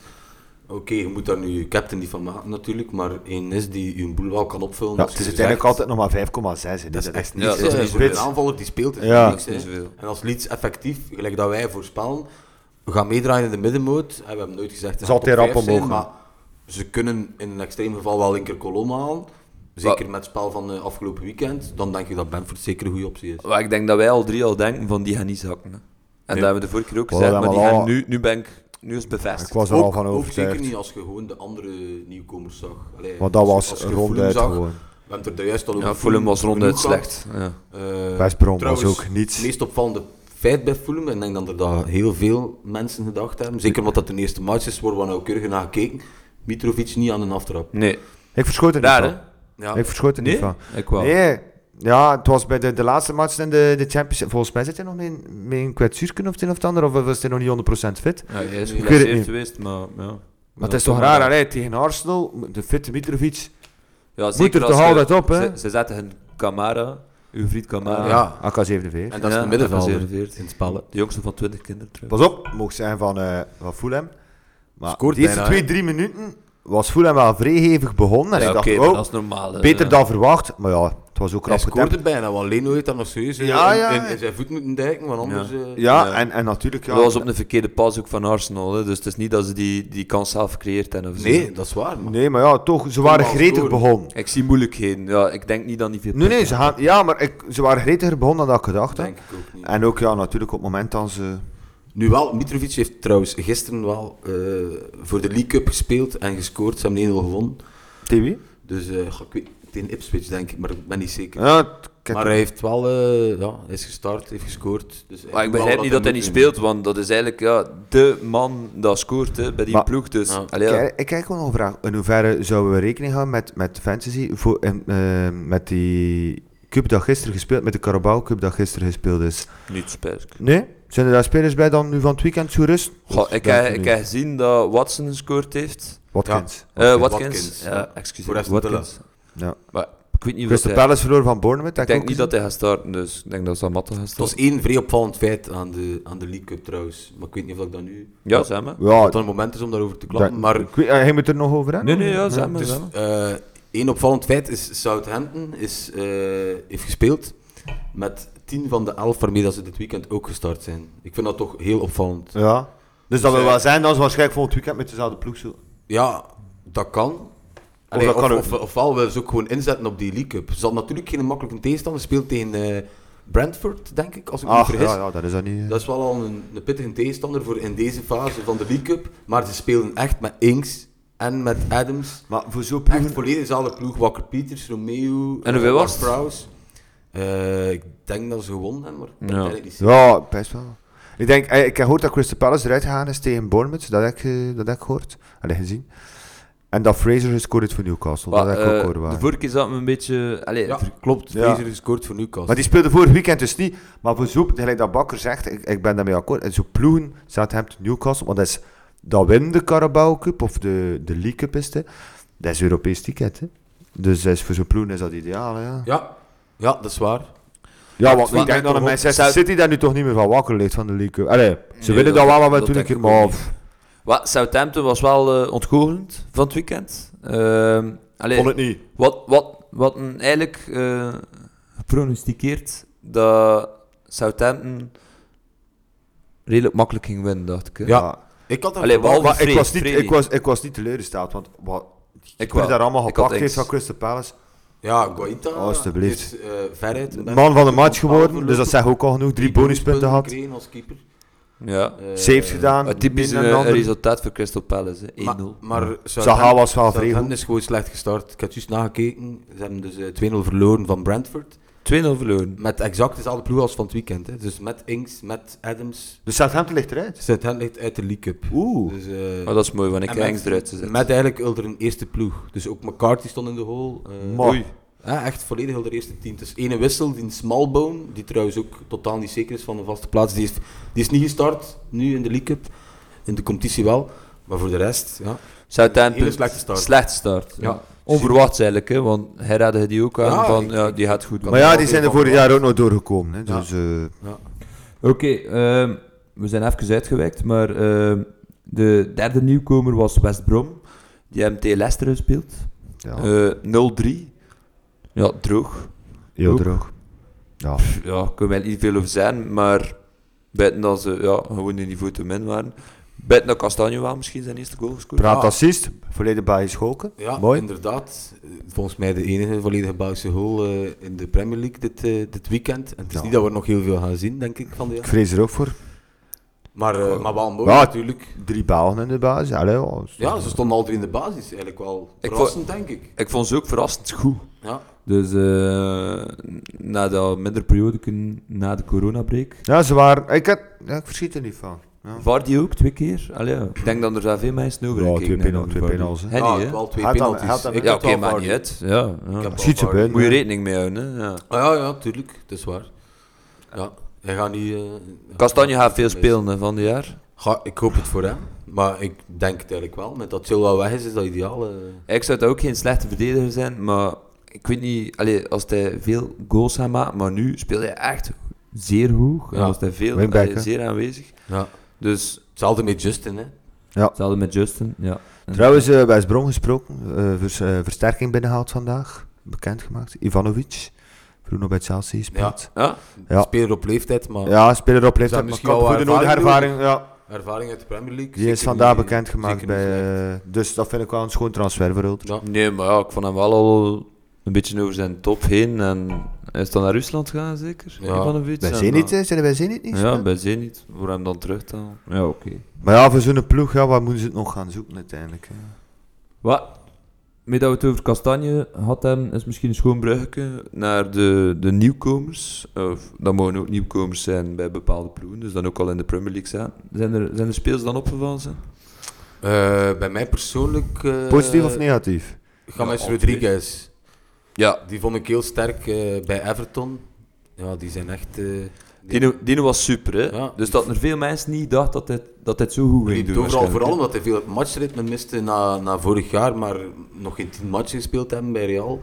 S3: Oké, je moet daar nu je captain niet van maken natuurlijk, maar één is die je boel wel kan opvullen.
S2: Ja,
S3: als
S2: het
S3: je
S2: is
S3: zegt,
S2: uiteindelijk altijd nog maar 5,6. hè.
S3: Dat is echt
S1: Ja, dat
S3: niks. Ja,
S1: is niet
S3: voor een
S2: spits.
S3: aanvaller die speelt, is
S2: Ja.
S3: dat niks.
S1: Dat is
S3: hè.
S1: niet zoveel.
S3: En als Leeds effectief, gelijk dat wij voorspellen, we gaan meedraaien in de middenmoot. En we hebben nooit gezegd dat
S2: Zal
S3: top
S2: het hier
S3: vijf
S2: rap
S3: zijn,
S2: omhoog gaan.
S3: Maar ze kunnen in een extreem geval wel linker kolom halen. Zeker met het spel van eh, afgelopen weekend. Dan denk ik dat Benford zeker een goede optie is.
S1: Maar ik denk dat wij al drie al denken van die gaan niet zakken. hè. En dat hebben we de vorige keer ook
S2: Wel,
S1: gezegd,
S2: dat
S1: maar die
S2: hebben we
S1: gaan
S2: al-
S1: nu, nu ben ik, nu is het bevestigd.
S2: Ik was er al
S3: Ook,
S2: van
S3: ook
S2: overtuigd.
S3: zeker niet als je gewoon de andere nieuwkomers zag. Allee,
S2: Want dat
S3: als-
S2: was
S3: als je Fulham
S2: ronduit
S3: zag,
S2: gewoon.
S3: We hebben het er juist al over.
S1: Ja, Fulham was ronduit
S3: genoeg gehad.
S1: slecht. Ja.
S3: Eh,
S2: West Brom was
S3: trouwens,
S2: ook niets.
S3: Het meest opvallende feit bij Fulham, en ik denk dat er daar heel veel mensen gedacht hebben, zeker omdat dat de eerste match is, worden we nauwkeurig naar gekeken, Mitrovic niet aan een aftrap.
S1: Nee,
S2: Ik verschoot er niet
S1: raar
S2: van.
S1: hè?
S3: Ja.
S2: Ik verschoot er niet
S1: Nee?
S2: van.
S1: Ik wel.
S2: Nee, ja, het was bij de, de laatste match in de, de Champions League. Volgens mij zit hij nog mee in, mee in kwetsuur kunnen of het een of het ander, of was hij nog niet 100% fit.
S1: Ja, hij is
S3: Ik weet het
S1: geblesseerd
S2: niet.
S1: geweest, maar ja.
S2: Maar het is toch raar, allee, tegen Arsenal, de fitte Mitrovic.
S1: Ja, zeker
S2: Moet er
S1: als
S2: toch
S1: je-
S2: altijd op, hè?
S1: Ze, ze zetten hun Camara, uw vriend
S2: Ah. eh,
S1: Camara.
S3: Ja.
S2: AK-47.
S3: En dat is
S1: Ja,
S3: de middenvelder.
S1: dat is 47.
S3: In het spellen.
S1: De jongste van 20 kinderen trouwens.
S2: Pas op, mocht zijn van, eh van Fulham. Maar
S3: Scoort
S2: de eerste
S3: bijna, hè?
S2: twee, drie minuten was Fulham wel vrijhevig begonnen. En
S1: Ja,
S2: ik dacht,
S1: oké, maar
S2: wow,
S1: dat is eh, normaal. hè.
S2: Oh, beter
S1: Ja.
S2: dan verwacht. Maar ja, het was ook
S3: Hij
S2: krap
S3: scoorde
S2: getemd.
S3: bijna, want Leno heeft dat nog serieus eh,
S2: Ja, ja,
S3: in, in,
S2: ja.
S3: in zijn voet moeten dijken, want anders...
S1: Ja.
S3: eh,
S2: Ja,
S1: Ja.
S2: En, en natuurlijk... Ja,
S1: Dat was op een verkeerde pas ook van Arsenal, hè. dus het is niet dat ze die, die kans zelf gecreëerd hebben. Of zo.
S3: Nee, dat is waar. Maar.
S2: Nee, maar ja, toch, ze waren
S3: wel
S2: gretig
S3: scoren.
S2: begonnen.
S1: Ik zie moeilijkheden. Ja, ik denk niet dat die veel
S2: Nee, nee,
S1: punten
S2: ze gaan... Ja, maar ik, ze waren gretiger begonnen dan ik gedacht had.
S3: Denk ik ook niet.
S2: En ook, ja, natuurlijk op het moment dat ze...
S3: Nu wel, Mitrovic heeft trouwens gisteren wel eh, voor de League Cup gespeeld en gescoord. Ze hebben 1-0 gewonnen.
S2: TV?
S3: Dus eh, goh, ik weet, tegen Ipswich denk ik, maar ik ben niet zeker.
S2: Ja, het- ik heb-
S3: Maar hij heeft wel, eh, ja, hij is gestart, heeft gescoord. Dus hij
S1: Maar ik
S3: doet wel
S1: begrijp
S3: wat
S1: niet dat hij niet
S3: moet
S1: speelt, want dat is eigenlijk ja, de man dat scoort hè, bij die
S2: Maar-
S1: ploeg. Dus,
S3: Ja.
S1: allee, ja.
S2: ik, ik kijk gewoon nog een vraag. In hoeverre zouden we rekening houden met, met fantasy? Voor, en, eh, met die cup dat gisteren gespeeld, met de Carabao Cup dat gisteren gespeeld is.
S1: niet spijtig.
S2: Nee? Zijn er daar spelers bij dan nu van het weekend zo rust?
S1: Goh, ik,
S2: Dank
S1: heb,
S2: u
S1: ik eh,
S2: niet.
S1: heb gezien dat Watson gescoord heeft.
S2: Watkins.
S1: Eh, Watkins.
S3: Watkins,
S1: Ja,
S3: ja.
S1: excuseer.
S3: Voor Aston Villa.
S1: Watkins.
S2: Ja.
S1: Maar ik weet niet of
S2: Crystal
S1: dat hij...
S2: Palace verloren van Bournemouth.
S1: Ik
S2: heb
S1: denk
S2: ook
S1: niet dat hij gaat starten, dus ik denk dat Samatta gaat
S3: Het was
S1: starten.
S3: één vrij opvallend feit aan de, aan de League Cup trouwens. Maar ik weet niet of ik dat nu...
S1: Ja, zeg maar.
S2: gezien. Ja,
S3: Wat dan een moment is om daarover te
S2: dat-
S3: klappen. Maar
S2: ik weet- eh, ging het er nog over hebben?
S1: Nee, nee, ja, zeg maar.
S3: dus,
S1: zeg maar.
S3: eh, één opvallend feit is Southampton is, eh, heeft gespeeld met 10 van de 11 waarmee dat ze dit weekend ook gestart zijn. Ik vind dat toch heel opvallend.
S2: Ja. Dus dat
S3: Dus,
S2: wil
S3: eh,
S2: wel zijn dat ze waarschijnlijk volgend weekend met dezelfde ploeg zullen.
S3: Ja, dat kan. Allee,
S2: dat
S3: of,
S2: kan ook-
S3: of, ofwel willen ze ook gewoon inzetten op die League Cup. Ze hadden natuurlijk geen makkelijke tegenstander. Ze speelt tegen eh, Brentford, denk ik, als ik me niet
S2: Ach,
S3: vergis.
S2: Ah, ja, ja, dat is dat niet. eh.
S3: Dat is wel al een, een pittige tegenstander voor in deze fase van de League Cup. Maar ze spelen echt met Inks en met Adams.
S2: Maar voor zo'n
S3: Echt
S2: ploeg...
S3: volledig dezelfde ploeg. Wakker Pieters, Romeo,
S1: En hoeveel
S3: eh,
S1: was
S3: Mark
S1: het?
S3: Prowse. Eh, ik denk dat ze gewonnen hebben, maar ik kan
S1: Ja.
S3: het eigenlijk niet zien.
S2: Ja, best wel. Ik denk, eh, ik heb gehoord dat Crystal Palace eruit gegaan is tegen Bournemouth. Dat heb ik, eh, dat heb ik gehoord. Allee, gezien. En dat Fraser gescoord heeft voor Newcastle.
S1: Maar,
S2: dat heb ik
S1: eh,
S2: ook gehoord.
S1: de
S2: waar.
S1: vorige keer zat me een beetje... Allee,
S3: Ja.
S1: ver-
S3: Klopt,
S2: Ja.
S3: Fraser gescoord voor Newcastle.
S2: Maar die speelde vorig weekend dus niet. Maar voor zo'n, gelijk dat Bakker zegt, ik, ik ben daarmee akkoord. En zo'n ploegen, Southampton, Newcastle, want dat is, dat wint de Carabao Cup of de, de League Cup is het, hè. Dat is Europees ticket, hè. Dus dat is, voor zo'n ploegen is dat ideaal, hè, ja.
S3: Ja. ja, dat is waar.
S2: Ja,
S3: het
S2: want ik
S3: slaat mij
S2: denk dat
S3: toch
S2: een
S3: op.
S2: Manchester
S1: Zuid-
S2: City daar nu toch niet meer van wakker ligt van de League Cup. Allee, ze
S1: Nee,
S2: willen
S1: dat-
S2: dat wel, maar we
S1: dat
S2: toen een
S1: denk
S2: keer,
S1: ik ook
S2: maar...
S1: niet. Wat, Southampton was wel eh ontgoochelend van het weekend. Ehm allee,
S2: Vond het niet.
S1: Wat, wat, wat men eigenlijk eh pronosticeert dat Southampton redelijk makkelijk ging winnen, dacht ik. hè.
S3: Ja. Ik had dat
S1: Allee,
S3: verwacht.
S1: behalve
S2: Maar ik
S1: Vree-
S2: was, niet,
S1: Vree.
S2: ik, was, ik was niet teleurgesteld, want wat ik
S1: wel.
S2: daar allemaal
S1: Ik had
S2: gepakt heeft
S1: Ings.
S2: van Crystal Palace.
S3: Ja, Guaita
S2: Oh, alstublieft.
S3: is eh, veruit. de
S2: Man van de
S3: beste
S2: match geworden,
S3: aanvoerder.
S2: dus dat zegt ook al genoeg. Drie bonuspunten had,
S3: gekregen als keeper.
S1: ja.
S3: Eh,
S2: saves gedaan.
S1: Het typische
S2: minder dan
S1: eh,
S2: anderen.
S1: resultaat voor Crystal Palace, hè, 1-0.
S3: Maar, maar
S2: Zaha was wel vrij
S3: Southampton
S2: goed.
S3: is gewoon slecht gestart. Ik heb juist nagekeken. Ze hebben dus eh, 2-0 verloren van Brentford.
S1: 2-0 verloren.
S3: Met exact dezelfde ploeg als van het weekend. Hè. Dus met Inks, met Adams.
S2: Dus Southampton ligt eruit.
S3: Southampton ligt uit de League Cup.
S2: Oeh.
S3: Dus, eh,
S1: Maar dat is mooi, want ik
S3: en
S1: heb Engst eruit te zetten.
S3: met eigenlijk onder een eerste ploeg. Dus ook McCarthy stond in de hole. eh,
S2: Maar-
S1: Oei.
S3: Ja, echt volledig heel de eerste team. Dus ene wissel, die Smallbone, die trouwens ook totaal niet zeker is van een vaste plaats. Die is, die is niet gestart, nu in de League Cup. In de competitie wel. Maar voor de rest, ja.
S1: Southampton,
S3: Hele slechte start.
S1: slechte start.
S3: Ja.
S1: Onverwachts eigenlijk, hè, want hij raadde die ook aan
S3: Ja,
S1: van,
S3: ik-
S1: ja, die gaat goed.
S2: Maar
S1: Oké,
S2: ja,
S3: wel
S2: die
S3: weer
S2: zijn er
S3: van
S2: vorig
S3: verwacht.
S2: jaar ook nog doorgekomen. Hè.
S3: Ja.
S2: Dus, eh,
S1: ehm, we zijn even uitgewerkt, maar ehm, de derde nieuwkomer was West Brom. Die hebben tegen Leicester gespeeld.
S2: ja,
S1: Eh, 0-3. Ja, droog.
S2: heel
S1: ook.
S2: droog. Ja.
S1: Pff, Ja, ik kan wel niet veel over zijn, maar buiten dat ze ja, gewoon in niveau te min waren. Buiten dat Castagne wel misschien zijn eerste goal gescoord. Ah,
S2: Praat assist, verleden bij Scholken.
S3: ja
S2: Mooi.
S3: inderdaad. Eh, Volgens mij de enige volledige Belgische goal eh, in de Premier League dit, eh, dit weekend. En het is
S2: Ja.
S3: niet dat we er nog heel veel gaan zien, denk ik, van de
S2: Ik vrees er ook voor.
S3: Maar, eh, maar wel mooi,
S2: Ja.
S3: natuurlijk.
S2: Drie Belgen in de basis. Allee, ja, dus-
S3: Ja, ze stonden altijd in de basis. Eigenlijk wel
S1: Ik
S3: verrassend, denk ik.
S1: Ik vond ze ook verrassend goed.
S3: Ja.
S1: Dus eh, na dat minder periode na de coronabreak.
S2: Ja, ze waren... Ik, had, ja, ik verschiet er niet van. Ja.
S1: Vardy ook twee keer. Allee, ja. Ik denk dat er daar veel mensen over
S2: Ja,
S1: gekeken hebben
S2: twee penal- twee
S1: over Vardy.
S2: penals, hè.
S1: Hij
S3: ja,
S1: niet, hè?
S3: Ah, wel twee
S2: Had dat-
S3: penalties.
S2: had dat-
S3: Ik
S1: Ja,
S3: had
S1: oké,
S3: wel
S1: maakt
S3: Vardy.
S1: niet uit. Ja, ja.
S3: Ik
S2: Schiet
S3: heb wel
S2: ze
S3: Vardy.
S2: binnen.
S1: Moet je rekening mee houden. Hè? Ja.
S3: Ah, ja, ja, tuurlijk. Dat is waar. Ja, hij gaat niet... eh,
S1: Castagne gaat veel spelen hè, van dit jaar.
S3: Ga- ik hoop het voor hem. Maar ik denk het eigenlijk wel. Met dat Silva weg is, is dat ideaal. eh.
S1: Ik zou het ook geen slechte verdediger zijn, maar ik weet niet, allee, als hij veel goals gaat maken, maar nu speelt hij echt zeer hoog. En
S3: Ja.
S1: was hij veel,
S2: Wingback,
S1: allee,
S2: hè?
S1: zeer aanwezig.
S3: Ja.
S1: Dus
S3: Hetzelfde met Justin, hè.
S1: hetzelfde met Justin. Ja.
S2: Trouwens, eh bij Brom gesproken, eh, vers- eh, versterking binnengehaald vandaag. Bekendgemaakt. Ivanovic, vroeger nog bij Chelsea gespeeld.
S1: Ja?
S2: Ja.
S3: Speler op leeftijd, maar
S2: Ja, speler op leeftijd,
S3: Zou
S2: maar
S3: misschien
S2: kan
S3: wel
S2: goed de nodige
S3: ervaring
S2: ervaring. Ja.
S3: ervaring uit de Premier League.
S2: Die is
S3: zeker
S2: vandaag
S3: niet-
S2: bekendgemaakt.
S3: zeker niet
S2: Bij,
S3: slecht.
S2: eh, dus dat vind ik wel een schoon transfer voor Hulter.
S3: Ja.
S1: Nee, maar ja, ik vond hem wel al een beetje over zijn top heen. En hij is dan naar Rusland gegaan, zeker?
S3: Ja.
S1: Ivanovic,
S2: Bij
S1: en
S2: Zenit,
S1: dan-
S2: hè? zijn er bij Zenit niet?
S1: Ja,
S2: gespeeld?
S1: bij Zenit. Voor hem dan terug te halen. Ja, oké.
S2: Maar ja, voor zo'n ploeg, ja, waar moeten ze het nog gaan zoeken uiteindelijk? hè?
S1: Wat? Met dat we het over Kastanje had hebben, is misschien een schoon bruggetje naar de, de nieuwkomers. Of, dat mogen ook nieuwkomers zijn bij bepaalde ploegen, dus dan ook al in de Premier League zijn. Zijn er, zijn er speels dan opgevallen? Zijn?
S3: Eh, bij mij persoonlijk... eh,
S2: Positief of negatief?
S3: James
S1: Ja,
S3: Rodriguez.
S1: Ja,
S3: Die vond ik heel sterk eh, bij Everton. Ja, die zijn echt... eh die
S1: Dino, Dino was super, hè?
S3: Ja.
S1: Dus dat er veel mensen niet dachten dat hij dat hij het zo goed ging
S3: liep
S1: doen.
S3: overal,
S1: waarschijnlijk,
S3: vooral
S1: hè.
S3: omdat hij veel matchritme miste na, na vorig jaar, maar nog geen tien matchen gespeeld hebben bij Real.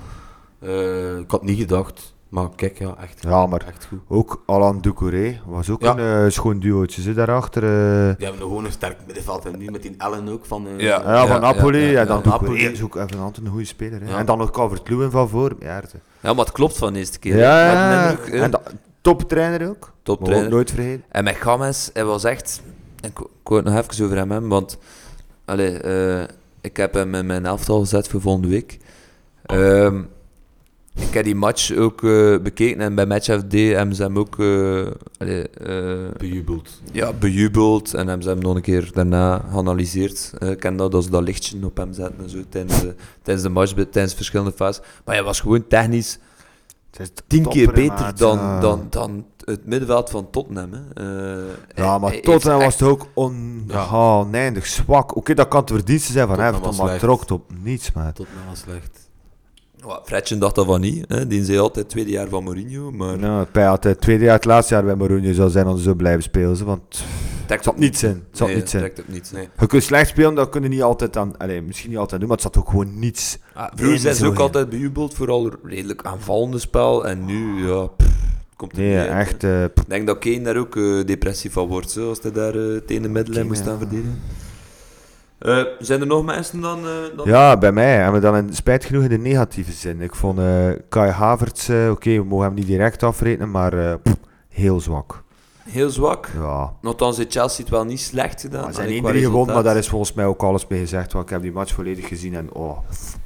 S3: Eh, ik had niet gedacht, maar kijk, ja, echt,
S2: Ja, maar
S3: echt goed.
S2: ook Alain Doucouré was ook
S3: Ja.
S2: een eh, schoon duootje. Zit daarachter. eh
S3: Die hebben gewoon een sterk middenveld en nu met die Allen ook van... eh,
S1: Ja.
S2: Ja, van Napoli.
S1: ja,
S2: Ja,
S1: ja,
S2: dan
S1: ja.
S2: Doucouré
S3: Napoli.
S2: is ook even altijd eh, een goede speler. Hè.
S3: Ja.
S2: En dan nog Calvert-Lewin van voor. Ja, het-
S1: Ja, maar het klopt van de eerste keer. hè.
S2: ja,
S1: Maar
S2: ja.
S1: het indruk, hè.
S2: en da- toptrainer ook. Mogen we
S1: Toptrainer.
S2: ook nooit vergeten.
S1: En met Games, hij was echt... Ik, ik wou het nog even over hem hebben, want... Allee, eh, Ik heb hem in mijn elftal gezet voor volgende week. Ehm, ik heb die match ook eh, bekeken en bij Match FD hebben ze hem ook eh, allee, eh,
S3: Bejubeld.
S1: ja, bejubeld en hebben ze hem nog een keer daarna geanalyseerd. Eh, Ik ken dat als ze dat lichtje op hem zetten en zo tijdens de, tijdens de match, bij- tijdens verschillende fases. Maar hij was gewoon technisch
S2: Het is t-
S1: tien keer
S2: topper,
S1: beter
S2: maat.
S1: dan,
S2: Ja.
S1: dan, dan het middenveld van Tottenham. Hè. Eh,
S2: Ja,
S1: hij-
S2: maar
S1: hij
S2: Tottenham
S1: heeft
S2: was
S1: echt-
S2: het ook oneindig zwak. Oké, dat kan te verdiensten zijn van
S3: Tottenham
S2: Everton,
S3: was
S2: maar het
S3: slecht.
S2: trok op niets, maat.
S3: Tot nou slecht.
S1: Ja, Fredje dacht dat van niet. Hè. Die zei altijd tweede jaar van Mourinho, maar...
S2: Nou, Pij had het tweede jaar, het laatste jaar bij Mourinho zou zijn om zo blijven spelen. ze, Want het
S1: trekt
S2: zat niets in. Het zat
S1: Nee,
S2: niets in.
S1: trekt op niets.
S3: Nee.
S2: Je kunt slecht spelen, dat kun je niet altijd aan... Allee, misschien niet altijd doen, maar het zat ook gewoon niets.
S1: Ah, vroeger zijn ze
S2: zo
S1: ook
S2: in.
S1: altijd bejubeld voor al redelijk aanvallende spel. En nu, ja, pff, komt er
S2: Nee,
S1: niet uit, hè.
S2: echt... eh, pff,
S1: Ik denk dat Kane daar ook eh, depressief van wordt, zo, als hij daar eh het ene middenlijn moet
S2: Kane,
S1: staan
S2: ja.
S1: verdedigen. Eh, zijn er nog mensen dan? eh, dan-
S2: ja, bij mij hebben we dan een, spijt genoeg in de negatieve zin. Ik vond eh, Kai Havertz, eh, oké, we mogen hem niet direct afrekenen, maar eh, pff, heel zwak.
S1: Heel zwak.
S2: Ja.
S1: Nogthans heeft Chelsea het wel niet slecht gedaan.
S2: Maar ze
S1: Allee,
S2: zijn
S1: qua
S2: 1-3 gewonnen, maar
S1: resultaat.
S2: daar is volgens mij ook alles mee gezegd. Want ik heb die match volledig gezien en oh, pff,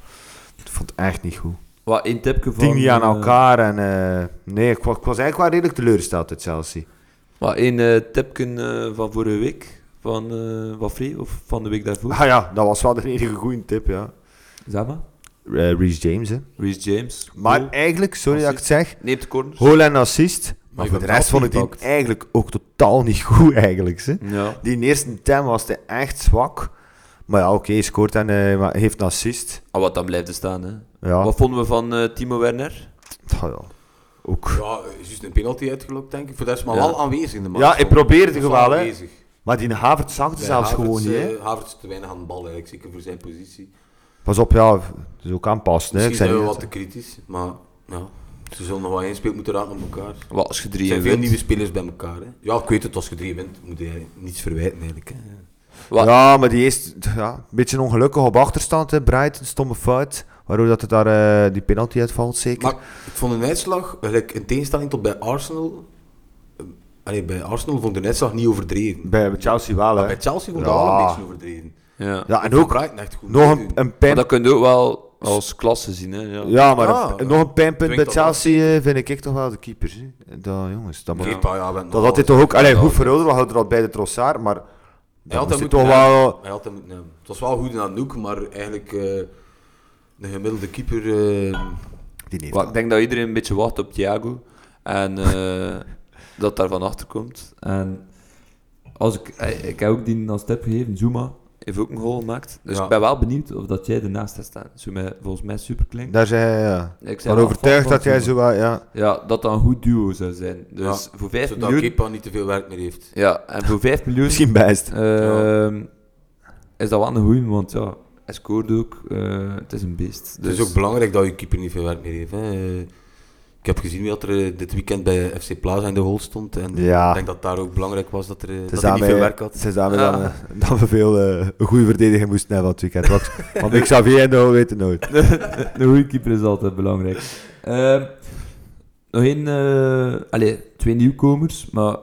S2: ik vond het echt niet goed.
S1: Wat, één tipje van...
S2: Tien niet aan
S1: eh,
S2: elkaar en eh, nee, ik, wa- ik was eigenlijk wel redelijk teleurgesteld uit Chelsea.
S1: Wat, één eh, tipje eh, van vorige week? Van, eh van Free of van de week daarvoor?
S2: Ah ja, dat was wel de enige goede tip, ja.
S1: Zeg maar.
S2: Eh Reece James, hè.
S1: Reece James.
S2: Maar
S1: Goal.
S2: eigenlijk, sorry dat ik het zeg,
S1: Neemt de corners.
S2: goal en assist. Maar
S3: ik
S2: voor de
S3: heb
S2: rest
S3: het
S2: vond ik die
S3: afgepakt.
S2: eigenlijk ook totaal niet goed, eigenlijk. Hè.
S1: Ja.
S2: Die eerste tem was hij echt zwak. Maar ja, oké, hij scoort en eh, maar heeft een assist.
S1: Ah, wat dan blijft er staan, hè.
S2: Ja,
S1: Wat vonden we van eh, Timo Werner?
S2: Ah, ja. ook.
S3: Ja, eh, juist een penalty uitgelokt, denk ik. Voor de rest maar
S1: Ja.
S3: wel aanwezig in de match.
S2: Ja, ik probeerde
S3: Hij was
S2: gewoon, hè.
S3: aanwezig.
S2: Maar die Havert zag het
S3: Bij
S2: zelfs
S3: Havertz,
S2: gewoon niet. hè.
S3: eh, Havertz te weinig aan de bal, eigenlijk, zeker voor zijn positie.
S2: Pas op, ja, het is ook aanpassen. Hè.
S3: Misschien
S2: Ik zei
S3: zijn we
S2: niet dat-
S3: wat te kritisch, maar ja, ze zullen nog wel inspeeld moeten raken op elkaar.
S1: Wat, als je
S3: Er
S1: drie
S3: zijn
S1: en
S3: veel
S1: wint?
S3: nieuwe spelers bij elkaar. Hè. Ja, ik weet het, als je drie wint, moet je niets verwijten eigenlijk. Hè.
S1: Wat?
S2: Ja, maar die is ja, een beetje ongelukkig op achterstand. Hè. Brighton, stomme fout. Waardoor dat het daar eh, die penalty uitvalt, zeker.
S3: Maar ik vond een uitslag, eigenlijk in tegenstelling tot bij Arsenal, eh, allee, bij Arsenal vond ik de uitslag niet overdreven.
S2: bij, bij Chelsea wel, hè.
S3: Bij Chelsea vond ik
S2: Ja.
S3: dat wel een beetje overdreven.
S1: Ja.
S2: Ja,
S3: Ik
S2: en
S3: vond
S2: ook
S3: Brighton echt goed.
S2: nog een,
S3: meedoen.
S2: een
S1: Maar
S2: pijn...
S1: dat kun je ook wel als klasse zien, hè. Ja.
S2: Ja, maar
S3: Ah,
S2: een- nog een pijnpunt
S3: dwingt
S2: bij
S3: dat wel.
S2: Chelsea eh, vind ik echt toch wel de keepers. Hè. Dat, jongens, dat, moet-
S3: Kepa, ja, we hebben
S2: dat
S3: nog
S2: had hij
S3: wel-
S2: toch ook... Allee, goed
S1: Ja.
S2: voor Roder, had er al bij de Trossard, maar...
S3: Hij
S2: Dat
S3: had
S2: moest hij
S3: hem moeten
S2: toch
S3: hebben.
S2: wel...
S3: Hij had hem moeten hebben. Het was wel goed in Anouk, maar eigenlijk eh de gemiddelde keeper... eh,
S2: Die heeft
S1: Maar ik denk dat iedereen een beetje wacht op Thiago. En eh, dat daar van achter komt. En als ik, eh, ik heb ook die als tip gegeven, Zuma heeft ook een goal gemaakt. Dus
S3: Ja.
S1: ik ben wel benieuwd of dat jij ernaast gaat staan. Zuma, volgens mij super klinkt.
S2: Daar zijn ja.
S1: Ik ben
S2: Maar overtuigd dat jij
S1: jij
S2: zo wel... Ja.
S1: Ja, dat dat een goed duo zou zijn. Dus voor 5
S3: Zodat
S1: miljoen...
S3: Kepa niet te veel werk meer heeft.
S1: Ja, en voor 5 miljoen
S2: Misschien bijst.
S1: ehm, is dat wel een goeie, want ja, hij scoort ook. eh, het is een beest. Dus
S3: Het is ook belangrijk dat je keeper niet veel werk meer heeft. Hè. Eh, Ik heb gezien dat er eh, dit weekend bij FC Plaza in de hol stond. En
S2: Ja.
S3: ik denk dat daar ook belangrijk was dat, er, eh, dat hij
S2: daarmee-
S3: niet veel werk had.
S2: Het is daarmee
S1: Ja.
S2: dat, we, dat we veel eh, [LAUGHS] een goede verdediging moesten hebben dat weekend. Want,
S3: [LAUGHS]
S2: want ik Xavier en de weten nooit.
S1: een goede keeper is altijd belangrijk. Ehm, nog één, eh, allee, twee nieuwkomers, maar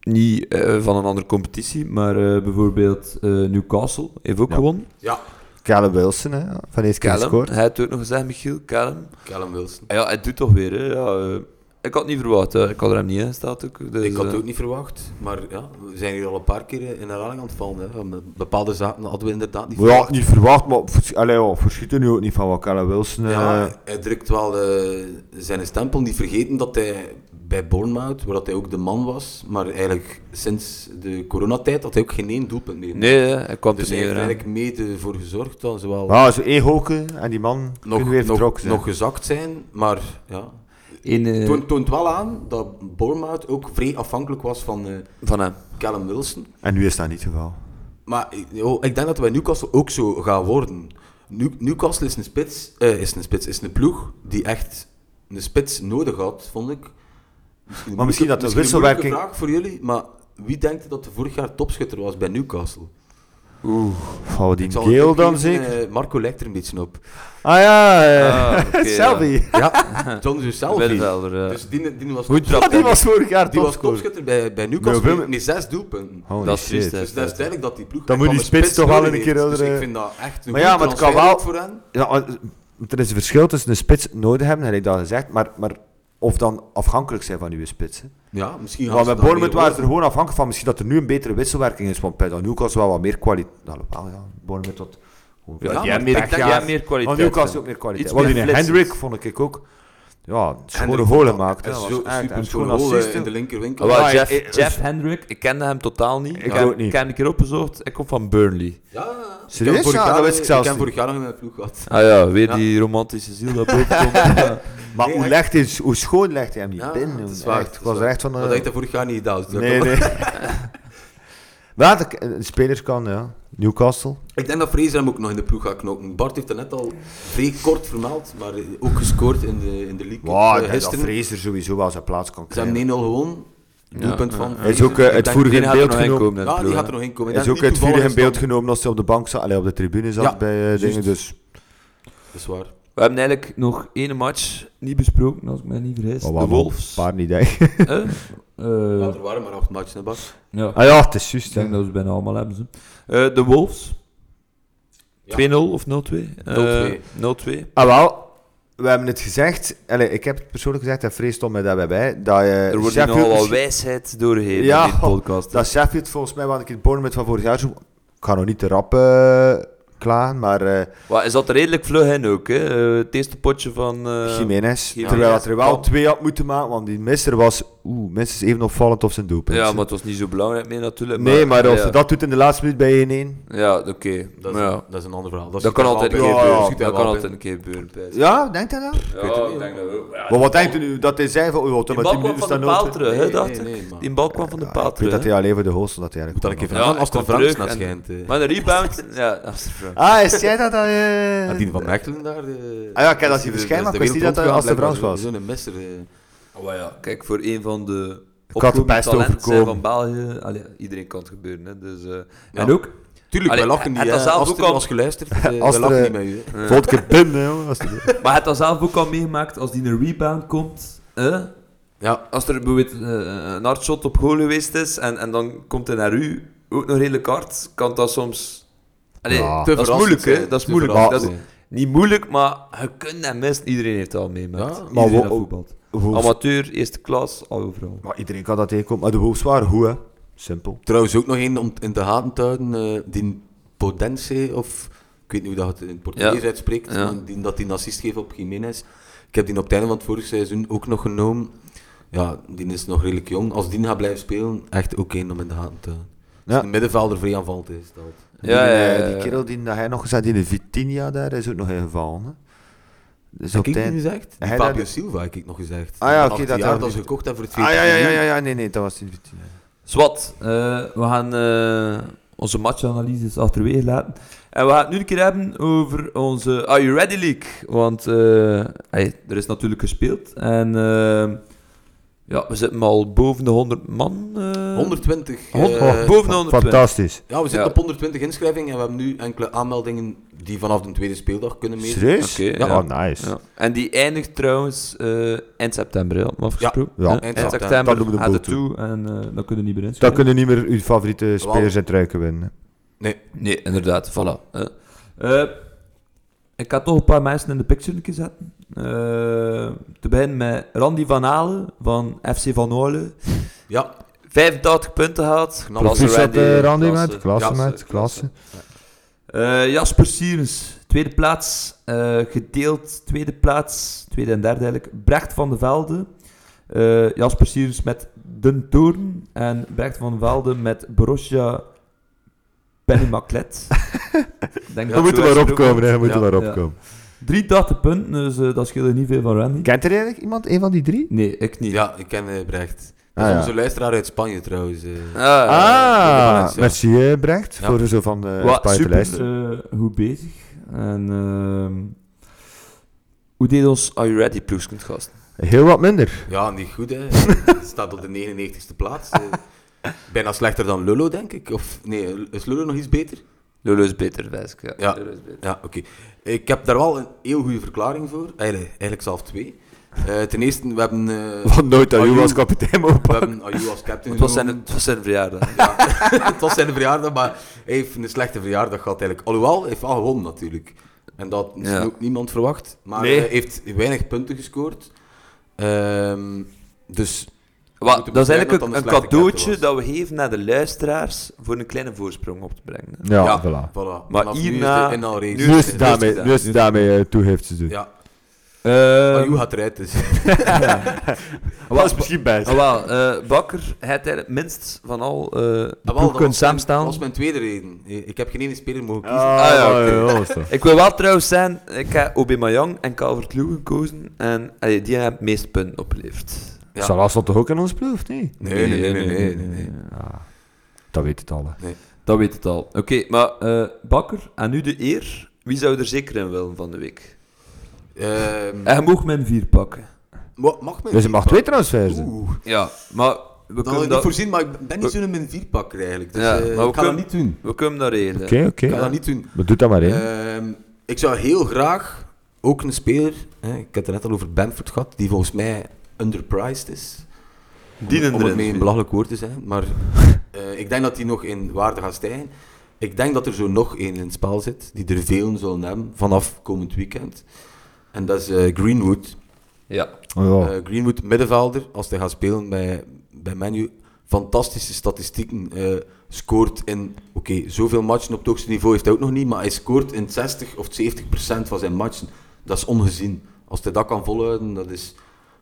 S1: niet eh, van een andere competitie, maar eh, bijvoorbeeld eh, Newcastle heeft ook
S2: Ja.
S1: gewonnen.
S3: Ja,
S2: Callum Wilson, hè, van deze keer
S1: Callum,
S2: gescoord.
S1: hij heeft het ook nog gezegd, Michiel, Callum.
S3: Callum Wilson.
S1: Ah Ja, hij doet toch weer, hè. Ja, eh, ik had het niet verwacht, hè. ik had er hem niet in staat ook. Dus,
S3: ik had het
S1: eh,
S3: ook niet verwacht, maar ja, we zijn hier al een paar keer eh, in herhaling aan het vallen. Hè. Met Bepaalde zaken hadden we inderdaad niet
S2: Ja, niet verwacht, maar vers- allee, ja, verschiet er nu ook niet van wat Callum Wilson... eh,
S3: Ja, hij drukt wel eh, zijn stempel. Niet vergeten dat hij bij Bournemouth, waar dat hij ook de man was, maar eigenlijk sinds de coronatijd had hij ook geen één doelpunt meer.
S1: Nee, hè, hij kwam
S3: Dus
S1: er
S3: hij
S1: niet
S3: heeft er
S1: meer aan.
S3: eigenlijk mede voor gezorgd dat ze wel
S2: ja, zo één hoken en die man kunnen weer vertrokken
S3: nog,
S2: zijn.
S3: nog gezakt zijn. Maar ja,
S1: In, eh,
S3: toont, toont wel aan dat Bournemouth ook vrij afhankelijk was van eh,
S1: van hem.
S3: Callum Wilson.
S2: En nu is dat niet het geval.
S3: Maar eh, yo, ik denk dat wij Newcastle ook zo gaan worden. New- Newcastle is een spits, eh, is een spits, is een ploeg die echt een spits nodig had, vond ik. Misschien
S2: Maar misschien dat de
S3: een moeilijke
S2: wisselwerking-
S3: vraag voor jullie, maar wie denkt dat de vorig jaar topschutter was bij Newcastle?
S2: Oeh, Valentin
S3: Ik zal
S2: Geel
S3: ook
S2: dan
S3: even,
S2: zeker?
S3: eh, Marco lijkt er een beetje op.
S2: Ah ja, eh, [LAUGHS]
S1: Ah, oké,
S2: Selby.
S3: Ja, [LAUGHS] John
S1: ja.
S3: Jusselvi.
S1: Middenvelder, eh, ja.
S3: Dus die, die was
S1: Goed trap.
S2: Ah, die was vorig jaar
S3: die was
S2: topscorer.
S3: topschutter bij, bij Newcastle
S2: Bij Willem- Oh,
S3: met, met zes doelpunten.
S2: Holy
S1: Dat is
S2: shit.
S1: triest, hè.
S3: Dus dat is duidelijk dat die ploeg...
S2: Dan
S3: echt
S2: moet die
S3: wel
S2: spits toch wel
S3: nodig
S2: een keer
S3: heeft.
S2: onder,
S3: Dus ik
S2: eh,
S3: vind dat echt een
S2: Maar
S3: goede
S2: ja, maar het kan
S3: transfer
S2: wel-
S3: ook voor hen.
S2: Ja, maar, eh, er is een verschil tussen een spits nodig hebben, heb ik dat gezegd, maar, maar of dan afhankelijk zijn van uw spitsen.
S3: Ja, misschien gaan
S2: Want
S3: ze
S2: met
S3: dan
S2: Bournemouth
S3: weer
S2: waren ze er
S3: over.
S2: gewoon afhankelijk van misschien dat er nu een betere wisselwerking is, want bij dan Newcastle wel wat meer kwaliteit. Nou, wel, ja, Bournemouth had...
S3: Ja,
S2: die
S3: maar
S2: hebben meer
S3: ik denk-
S2: pechjaar.
S3: ja,
S1: meer kwaliteit,
S2: Maar Newcastle
S1: ja.
S2: ook meer kwaliteit.
S1: Iets
S2: Want
S1: meer
S2: die
S1: flitsend.
S2: Hendrik vond ik ook... Ja, schone
S3: Hendrik
S2: goal
S3: vond dat
S2: gemaakt. hè.
S3: echt
S2: Dat
S3: Zo
S2: was echt-
S3: super
S2: en
S3: schoon
S2: schoon assist, hè.
S3: eh, in de linkerwinkel.
S1: Ah, wel,
S2: Ja, ik-
S1: Jeff,
S2: ik-
S1: Jeff Hendrick, ik kende hem totaal niet.
S2: Ik
S1: heb-
S2: ook niet.
S1: Ik heb hem een keer opgezocht, ik kom van Burnley.
S3: Ja, ja.
S2: Serieus?
S3: Ik heb vorig
S2: Ja,
S3: jaar-
S2: dat wist ik zelfs
S3: Ik heb
S2: niet.
S3: vorig jaar nog in mijn ploeg gehad.
S1: Ah ja, weer
S3: Ja.
S1: die romantische ziel [LAUGHS] dat boven komt. Ja.
S2: Maar
S3: Nee,
S2: hoe, legt
S3: echt.
S2: hij, hoe schoon legt hij hem niet
S3: Ja,
S2: binnen?
S3: het is
S2: jongen.
S3: waar,
S2: Echt,
S3: het
S2: ik
S3: is
S2: was er
S3: waar.
S2: echt van...
S3: Dat
S2: eh,
S3: had ik dat vorig jaar niet gedaan. dus dat
S2: Nee,
S3: kan-
S2: nee. [LAUGHS] Wat ik- een spelers kan, ja. Newcastle.
S3: Ik denk dat Fraser hem ook nog in de ploeg gaat knokken. Bart heeft dat net al vrij kort vermeld, maar eh, ook gescoord in de, in de league.
S2: Wow,
S3: eh,
S2: ik denk dat Fraser sowieso wel zijn plaats kan
S3: Ze
S2: krijgen.
S3: hebben 1-0 gewonnen. Doelpunt van
S2: Hij is
S3: Fraser.
S2: ook eh,
S3: Ik denk-
S2: uitvoerig in
S1: Die gaat er
S2: beeld
S1: nog in
S2: genomen.
S1: komen. in de
S3: Ja, die
S1: ploeg,
S3: gaat
S1: hè.
S3: er nog in komen.
S2: Hij is
S3: Dat
S2: ook
S3: niet
S2: uitvoerig in
S3: toevallig
S2: beeld genomen als hij op de bank zat, allee, op de tribune zat
S3: Ja,
S2: bij eh dingen. Dus
S3: Dat is waar.
S1: We hebben eigenlijk nog één match niet besproken, als ik me niet vergis.
S2: Oh,
S1: de
S2: waarom? een
S1: Wolves.
S2: paar niet, denk ik.
S1: Eh? Eh,
S3: Ja, er waren maar acht matchen, hè, Bas.
S1: ja.
S2: Ah ja, het is juist.
S1: Ik
S2: hè.
S1: denk dat we ze bijna allemaal hebben. Ze. Eh, de Wolves.
S3: Ja.
S1: 2-0 of 0-2? Eh,
S3: 0-2.
S1: 0-2.
S2: Ah wel, we hebben het gezegd. Allee, ik heb het persoonlijk gezegd, en Vrees stond mij daarbij bij. Dat, eh,
S1: Er wordt hier
S2: Sheffield
S1: nogal wat
S2: misschien-
S1: wijsheid doorheen
S2: Ja,
S1: in dit podcast.
S2: Dat Sheffield volgens mij, want ik in het Bournemouth van vorig jaar zo... Ik ga nog niet te rap eh, klagen, maar... eh,
S1: Maar is dat redelijk vlug in ook, hè? Eh, het eerste potje van... eh,
S2: Jiménez.
S1: Jiménez.
S2: terwijl dat er wel
S1: Kan.
S2: twee had moeten maken, want die mister was oeh, minstens even opvallend op zijn doelpunt.
S1: ja, maar het was niet zo belangrijk meer natuurlijk.
S2: nee, maar als
S1: ja.
S2: je dat doet in de laatste minuut bij 1-1.
S1: Ja, oké.
S3: Dat is,
S1: Maar ja,
S3: dat is een ander verhaal.
S1: dat kan altijd een keer
S2: Ja, ja,
S1: gebeuren.
S2: schiet
S1: Dat kan altijd een keer gebeuren. Pijs.
S2: Ja, denkt hij dat?
S1: Ja,
S3: weet het
S1: ik
S3: niet,
S1: denk dat wel. Ja,
S2: maar wat denkt u nu? Dat hij zei van, oeh, wat
S1: Die
S2: met
S1: bal
S2: die
S1: kwam
S2: minuten
S1: van de
S2: staan
S1: paal
S2: nodig.
S1: terug, hè,
S3: Nee,
S1: dacht
S3: nee,
S1: ik.
S3: nee, man.
S1: Die bal kwam van de paal
S2: Ik weet
S1: terug.
S2: dat
S1: hè.
S2: hij alleen voor de goals dat hij
S3: Moet
S2: eigenlijk
S3: dat een keer
S2: kon
S1: Ja,
S3: vragen als
S1: hij
S3: de
S1: kwam
S3: Franks
S1: terug
S3: naar
S1: en-
S3: schijnt. eh.
S1: Maar de rebound... Ja, dat is de vraag.
S2: maken. Ah, is jij dat dan?
S1: [LAUGHS]
S2: eh?
S3: Adine van Mechelen daar. eh? De,
S2: Ah ja, kijk, dat is die verschijning, maar ik wist niet dat dat als de Frans was.
S3: Zo'n messer. eh.
S1: Oh, maar ja, kijk, voor een van de
S2: had het
S1: opkomende
S2: best
S1: talenten
S2: overkomen.
S1: van België... Allee, iedereen kan het gebeuren, hè. Dus, eh,
S3: Ja.
S1: En ook...
S3: Tuurlijk,
S1: Allee,
S3: wij lachen niet.
S1: het was
S3: hè.
S1: zelf
S3: Als
S1: ook
S3: er
S1: al-
S3: was geluisterd, eh, wij
S2: Als er,
S3: lachen
S2: eh,
S3: niet met u. hè.
S2: Volgende keer binnen, jongen. als die-
S1: Maar het was zelf ook al meegemaakt, als die een rebound komt... hè?
S3: Ja,
S1: Als er bijvoorbeeld eh, een hardshot op goal geweest is en, en dan komt hij naar u, ook nog redelijk hard, kan dat soms... Allee,
S2: Ja. Te
S1: dat is moeilijk,
S3: eh.
S1: hè. Dat is moeilijk.
S2: verrassend
S1: Dat is niet moeilijk, maar je kunt en mist. Iedereen heeft het al meegemaakt.
S3: Ja, maar
S1: Iedereen
S2: wo-
S1: dat voetbalt.
S2: Wolves-
S1: Amateur, eerste klas, al overal.
S2: Maar iedereen kan dat tegenkomen. Maar de Wolves waren goed, hè. Simpel.
S3: Trouwens, ook nog één om in de haten te houden. eh, die Podense, of ik weet niet hoe dat het in het Portugees
S1: Ja.
S3: uitspreekt,
S1: Ja.
S3: maar die, dat die een assist geeft op Jiménez. Ik heb die op het einde van het vorige seizoen ook nog genomen. Ja, die is nog redelijk jong. Als die gaat blijven spelen, echt ook één om in de haten te houden. Als
S2: Ja.
S3: de middenvelder vrij aanvalt is dat.
S1: Ja,
S2: die,
S1: ja,
S2: eh,
S1: ja, ja.
S2: die kerel die dat hij nog gezet in de Vitinia daar is ook nog ingevallen. Hè? Dus op
S3: Heb ik
S2: het
S3: die
S2: eind-
S3: gezegd? Die
S2: Hij
S3: Fabio
S2: dat-
S3: Silva heb ik nog gezegd.
S2: Ah ja,
S3: Van
S2: oké,
S3: 18
S2: dat
S3: jaar
S2: had
S3: dat
S2: ik-
S3: ze gekocht hebben voor
S2: Ah ja,
S3: 14
S2: ja, ja,
S3: miljoen.
S2: ja, nee, nee, dat was in Vitinia.
S1: Zwat, eh, we gaan eh, onze matchanalyses achterwege laten. En we gaan het nu een keer hebben over onze Are You Ready League. Want eh, hey, er is natuurlijk gespeeld. En eh, ja, we zitten al boven de 100 man. eh.
S3: 120.
S1: Hond-
S3: eh,
S1: oh, boven de 120.
S2: Fantastisch.
S3: ja, we zitten
S1: Ja.
S3: op 120 inschrijvingen en we hebben nu enkele aanmeldingen die vanaf de tweede speeldag kunnen meedoen.
S2: Serieus?
S1: Oké,
S2: ja.
S1: ja.
S2: Oh, nice.
S1: Ja. En die eindigt trouwens eh, eind september, hè, hadden we afgesproken.
S2: Ja, ja,
S1: Eh,
S3: eind
S1: eind,
S3: september.
S1: september
S2: Dat doen we de
S1: gaat het
S2: boel
S1: toe en eh, dan kunnen we niet meer inschrijven.
S2: Dan kunnen niet meer uw favoriete spelers en truiken winnen.
S3: Nee,
S1: Nee, inderdaad, voilà. hè. Eh, ik had toch een paar mensen in de picture gezet. Eh te beginnen met Randy van Halen van FC Van Holen.
S3: ja,
S1: 85 punten gehad.
S3: Knap.
S1: Klasse,
S2: Proficiat, eh, Randy,
S1: klasse,
S2: met. Klasse,
S1: klasse,
S2: met. Klasse.
S1: Eh, Jasper Sierens, tweede plaats. eh, gedeeld, tweede plaats. Tweede en derde eigenlijk. Brecht van de Velde. Eh, Jasper Sierens met Den Toorn. En Brecht van de Velde met Borussia
S2: [LAUGHS]
S1: Pennymaklet.
S2: We moeten maar opkomen, hè. We moeten
S3: Ja,
S2: maar
S1: ja.
S2: opkomen.
S1: 83 punten, dus eh, dat scheelde niet veel van Randy.
S2: Kent er eigenlijk iemand, een van die drie?
S1: Nee, ik niet.
S3: ja, ik ken eh, Brecht. Dat
S2: Ah,
S3: is
S2: ja.
S3: onze luisteraar uit Spanje trouwens. eh.
S1: Ah,
S2: Ah,
S3: ja.
S2: merci eh, Brecht,
S3: Ja.
S2: voor zo van de
S1: Eh, Wat
S2: Spijt de
S1: super
S2: lijst.
S1: eh, goed bezig. En ehm, hoe deed ons Are You Ready ploegskund gasten?
S2: Heel wat minder.
S3: Ja, niet goed hè. Het staat op de 99ste plaats. eh. Bijna slechter dan Lullo, denk ik. Of nee, is Lullo nog iets beter?
S1: Lulu is beter, wijs ik. Ja,
S3: Ja.
S1: Lulu is beter.
S3: Ja, oké. Ik heb daar wel een heel goede verklaring voor. Eigenlijk, eigenlijk zelf twee. Eh, ten eerste, we hebben... eh,
S2: Want nooit dat u
S3: Ayew-
S2: als kapitein
S3: We
S2: mogen
S3: hebben Ayew als captain
S1: Het, was zijn,
S3: genomen.
S1: het was zijn [LAUGHS] verjaardag.
S3: [LAUGHS] het was zijn verjaardag, maar hij heeft een slechte verjaardag gehad eigenlijk. Alhoewel, hij heeft wel gewonnen natuurlijk. En dat had misschien
S1: Ja.
S3: ook niemand verwacht. Maar eh,
S2: Nee.
S3: hij heeft weinig punten gescoord. Ehm, dus...
S1: Wat-
S3: moeten
S1: dat is
S3: beseffen
S1: eigenlijk
S3: dat
S1: een,
S3: dat een
S1: een
S3: slechte
S1: cadeautje
S3: captain
S1: dat we geven naar de luisteraars voor een kleine voorsprong op te brengen. hè.
S2: Ja,
S3: voilà. Maar
S1: hierna-
S3: Nu is hij in
S1: nu
S2: Nu
S1: is
S2: is
S1: het
S2: het daarmee,
S1: gedaan.
S2: nu is het daarmee eh, toegift te doen.
S3: Ja.
S1: Ehm,
S3: Ayew gaat eruit, dus... [LAUGHS]
S2: Wat is misschien best.
S1: Ah, wel, eh, Bakker, hij heeft eigenlijk minst van al eh de
S3: Ah, wel,
S1: ploeg
S3: dat
S1: kunnen
S3: was mijn-
S1: samenstaan.
S3: Dat was mijn tweede reden. Eh, Ik heb geen ene speler mogen kiezen.
S1: Ah, ja, oké.
S2: ja, dat is toch.
S1: Ik wil wel trouwens zijn, ik heb Aubameyang en Calvert-Lewin gekozen. En allee, die hebben het meeste punten opgeleverd.
S3: Ja.
S2: Salah stond toch ook in ons ploeg, of niet?
S3: Nee, nee, nee, nee, nee, nee, nee.
S2: Ah, dat weet het al.
S1: Dat weet het al. Oké, maar eh, Bakker, aan u de eer. Wie zou er zeker in willen van de week?
S3: Ehm,
S1: En je mag mijn vier pakken.
S3: wa- mag men
S2: Dus je mag twee transfers doen.
S3: Oeh,
S1: Ja, maar we
S3: dat had
S1: kunnen
S3: ik
S1: dat,
S3: niet voorzien, maar ik ben niet
S1: We-
S3: zo'n min vierpakker eigenlijk. Dus
S1: Ja,
S3: eh,
S1: maar
S3: ik
S1: we
S3: kan
S1: kunnen-
S3: dat niet doen.
S1: we kunnen dat regelen.
S2: Oké, oké.
S3: Ik kan dat niet doen.
S2: Maar doe dat maar één.
S3: Ehm, ik zou heel graag ook een speler, hè, ik heb het er net al over Bamford gehad, die volgens mij underpriced is.
S1: Die
S3: om het
S1: erin
S3: mee een
S1: viel.
S3: belachelijk woord te zijn, maar eh, ik denk dat die nog in waarde gaat stijgen. Ik denk dat er zo nog één in het spel zit, die er velen zullen hebben vanaf komend weekend. En dat is eh, Greenwood.
S1: Ja.
S2: Oh, ja.
S3: Eh, Greenwood, middenvelder, als hij gaat spelen bij, bij Menu. Fantastische statistieken. eh, scoort in, oké, zoveel matchen op het hoogste niveau heeft hij ook nog niet, maar hij scoort in 60 of 70 procent van zijn matchen. Dat is ongezien. Als hij dat kan volhouden, dat is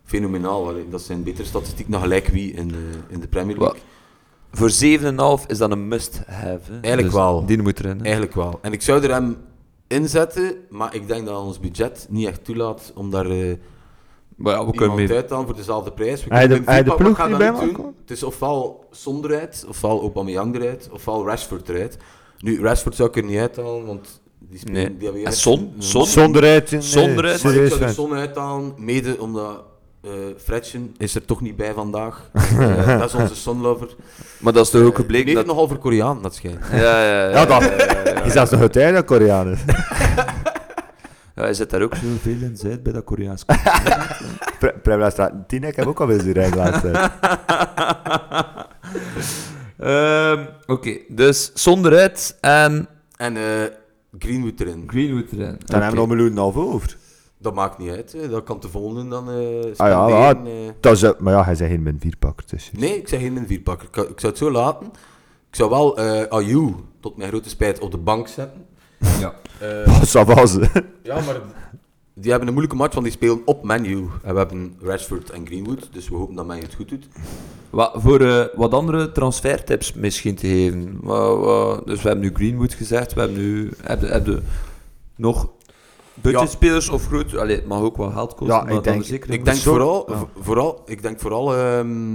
S3: fenomenaal. Allee, Dat zijn betere statistieken dan gelijk wie in de, in de Premier League.
S1: Voor 7,5 is dat een must-have. hè. Dus
S3: Eigenlijk wel.
S1: Die moet erin. hè.
S3: Eigenlijk wel. En ik zou er hem inzetten, maar ik denk dat ons budget niet echt toelaat om daar... eh,
S1: Maar ja, we kunnen
S3: iemand
S1: mee.
S3: uit dan voor dezelfde prijs. We
S2: Hij
S3: kunnen
S2: de-
S3: Benfica,
S2: hij de
S3: maar
S2: ploeg
S3: gaan
S2: niet
S3: dat
S2: bij
S3: niet
S2: maken?
S3: doen. Het is ofwel Son eruit, ofwel Aubameyang eruit, ofwel Rashford eruit. Nu, Rashford zou ik er niet uithalen, want die spelen...
S1: Nee.
S3: Die hebben
S1: En
S3: juist-
S1: Son?
S3: Ja.
S1: Son?
S2: Zonder uit. Nee,
S1: eh, Zonder uit.
S3: Maar ik
S2: serieus,
S3: zou er
S2: vent.
S3: Son uithalen, mede omdat eh Fredchen is er toch niet bij vandaag.
S2: [LAUGHS]
S3: Eh, dat is onze Sonlover.
S1: Maar dat is toch ook
S3: Die
S1: gebleken
S3: heeft
S1: dat...
S3: nogal voor Koreaan, dat schijnt.
S1: Ja, ja, ja.
S2: Ja, dat. [LAUGHS]
S1: ja.
S2: Is dat nog het einde Koreanen?
S1: Ja, hij zit daar ook heel veel in zuid bij dat [LAUGHS] Koreaans.
S2: [LAUGHS] Pre- Prem luisteraar, Tina, ik heb ook al weer zien rijden laatst.
S1: Ehm, Oké, dus zonder uit en
S3: En eh, Greenwood erin.
S1: Greenwood erin.
S2: Dan hebben we nog een miljoen en een half over.
S3: Dat maakt niet uit, hè. dat kan te volgen dan eh
S2: Ah ja,
S3: spenderen,
S2: ah,
S3: eh.
S2: Dat is, eh, maar ja, hij zei geen min dus- 4 pakker [LAUGHS] tussen.
S3: Nee, ik zeg geen vierpakker. Ik, ik zou het zo laten. Ik zou wel eh Ayew, tot mijn grote spijt, op de bank zetten.
S1: Ja.
S3: Eh,
S2: Oh, Savas.
S3: ja, maar die hebben een moeilijke match, want die spelen op menu. En we hebben Rashford en Greenwood, dus we hopen dat men het goed doet.
S1: Wa- voor eh, wat andere transfertips misschien te geven. Wa- wa- dus we hebben nu Greenwood gezegd, we hebben nu... Heb je, heb je nog budgetspelers of groot... Allee, het mag ook wel geld kosten,
S2: Ja,
S1: maar
S2: ik
S1: dat we
S2: denk-
S1: zeker
S3: Ik
S1: moeten-
S3: denk
S2: zo-
S3: vooral,
S2: ja.
S3: v- vooral, ik denk vooral ehm,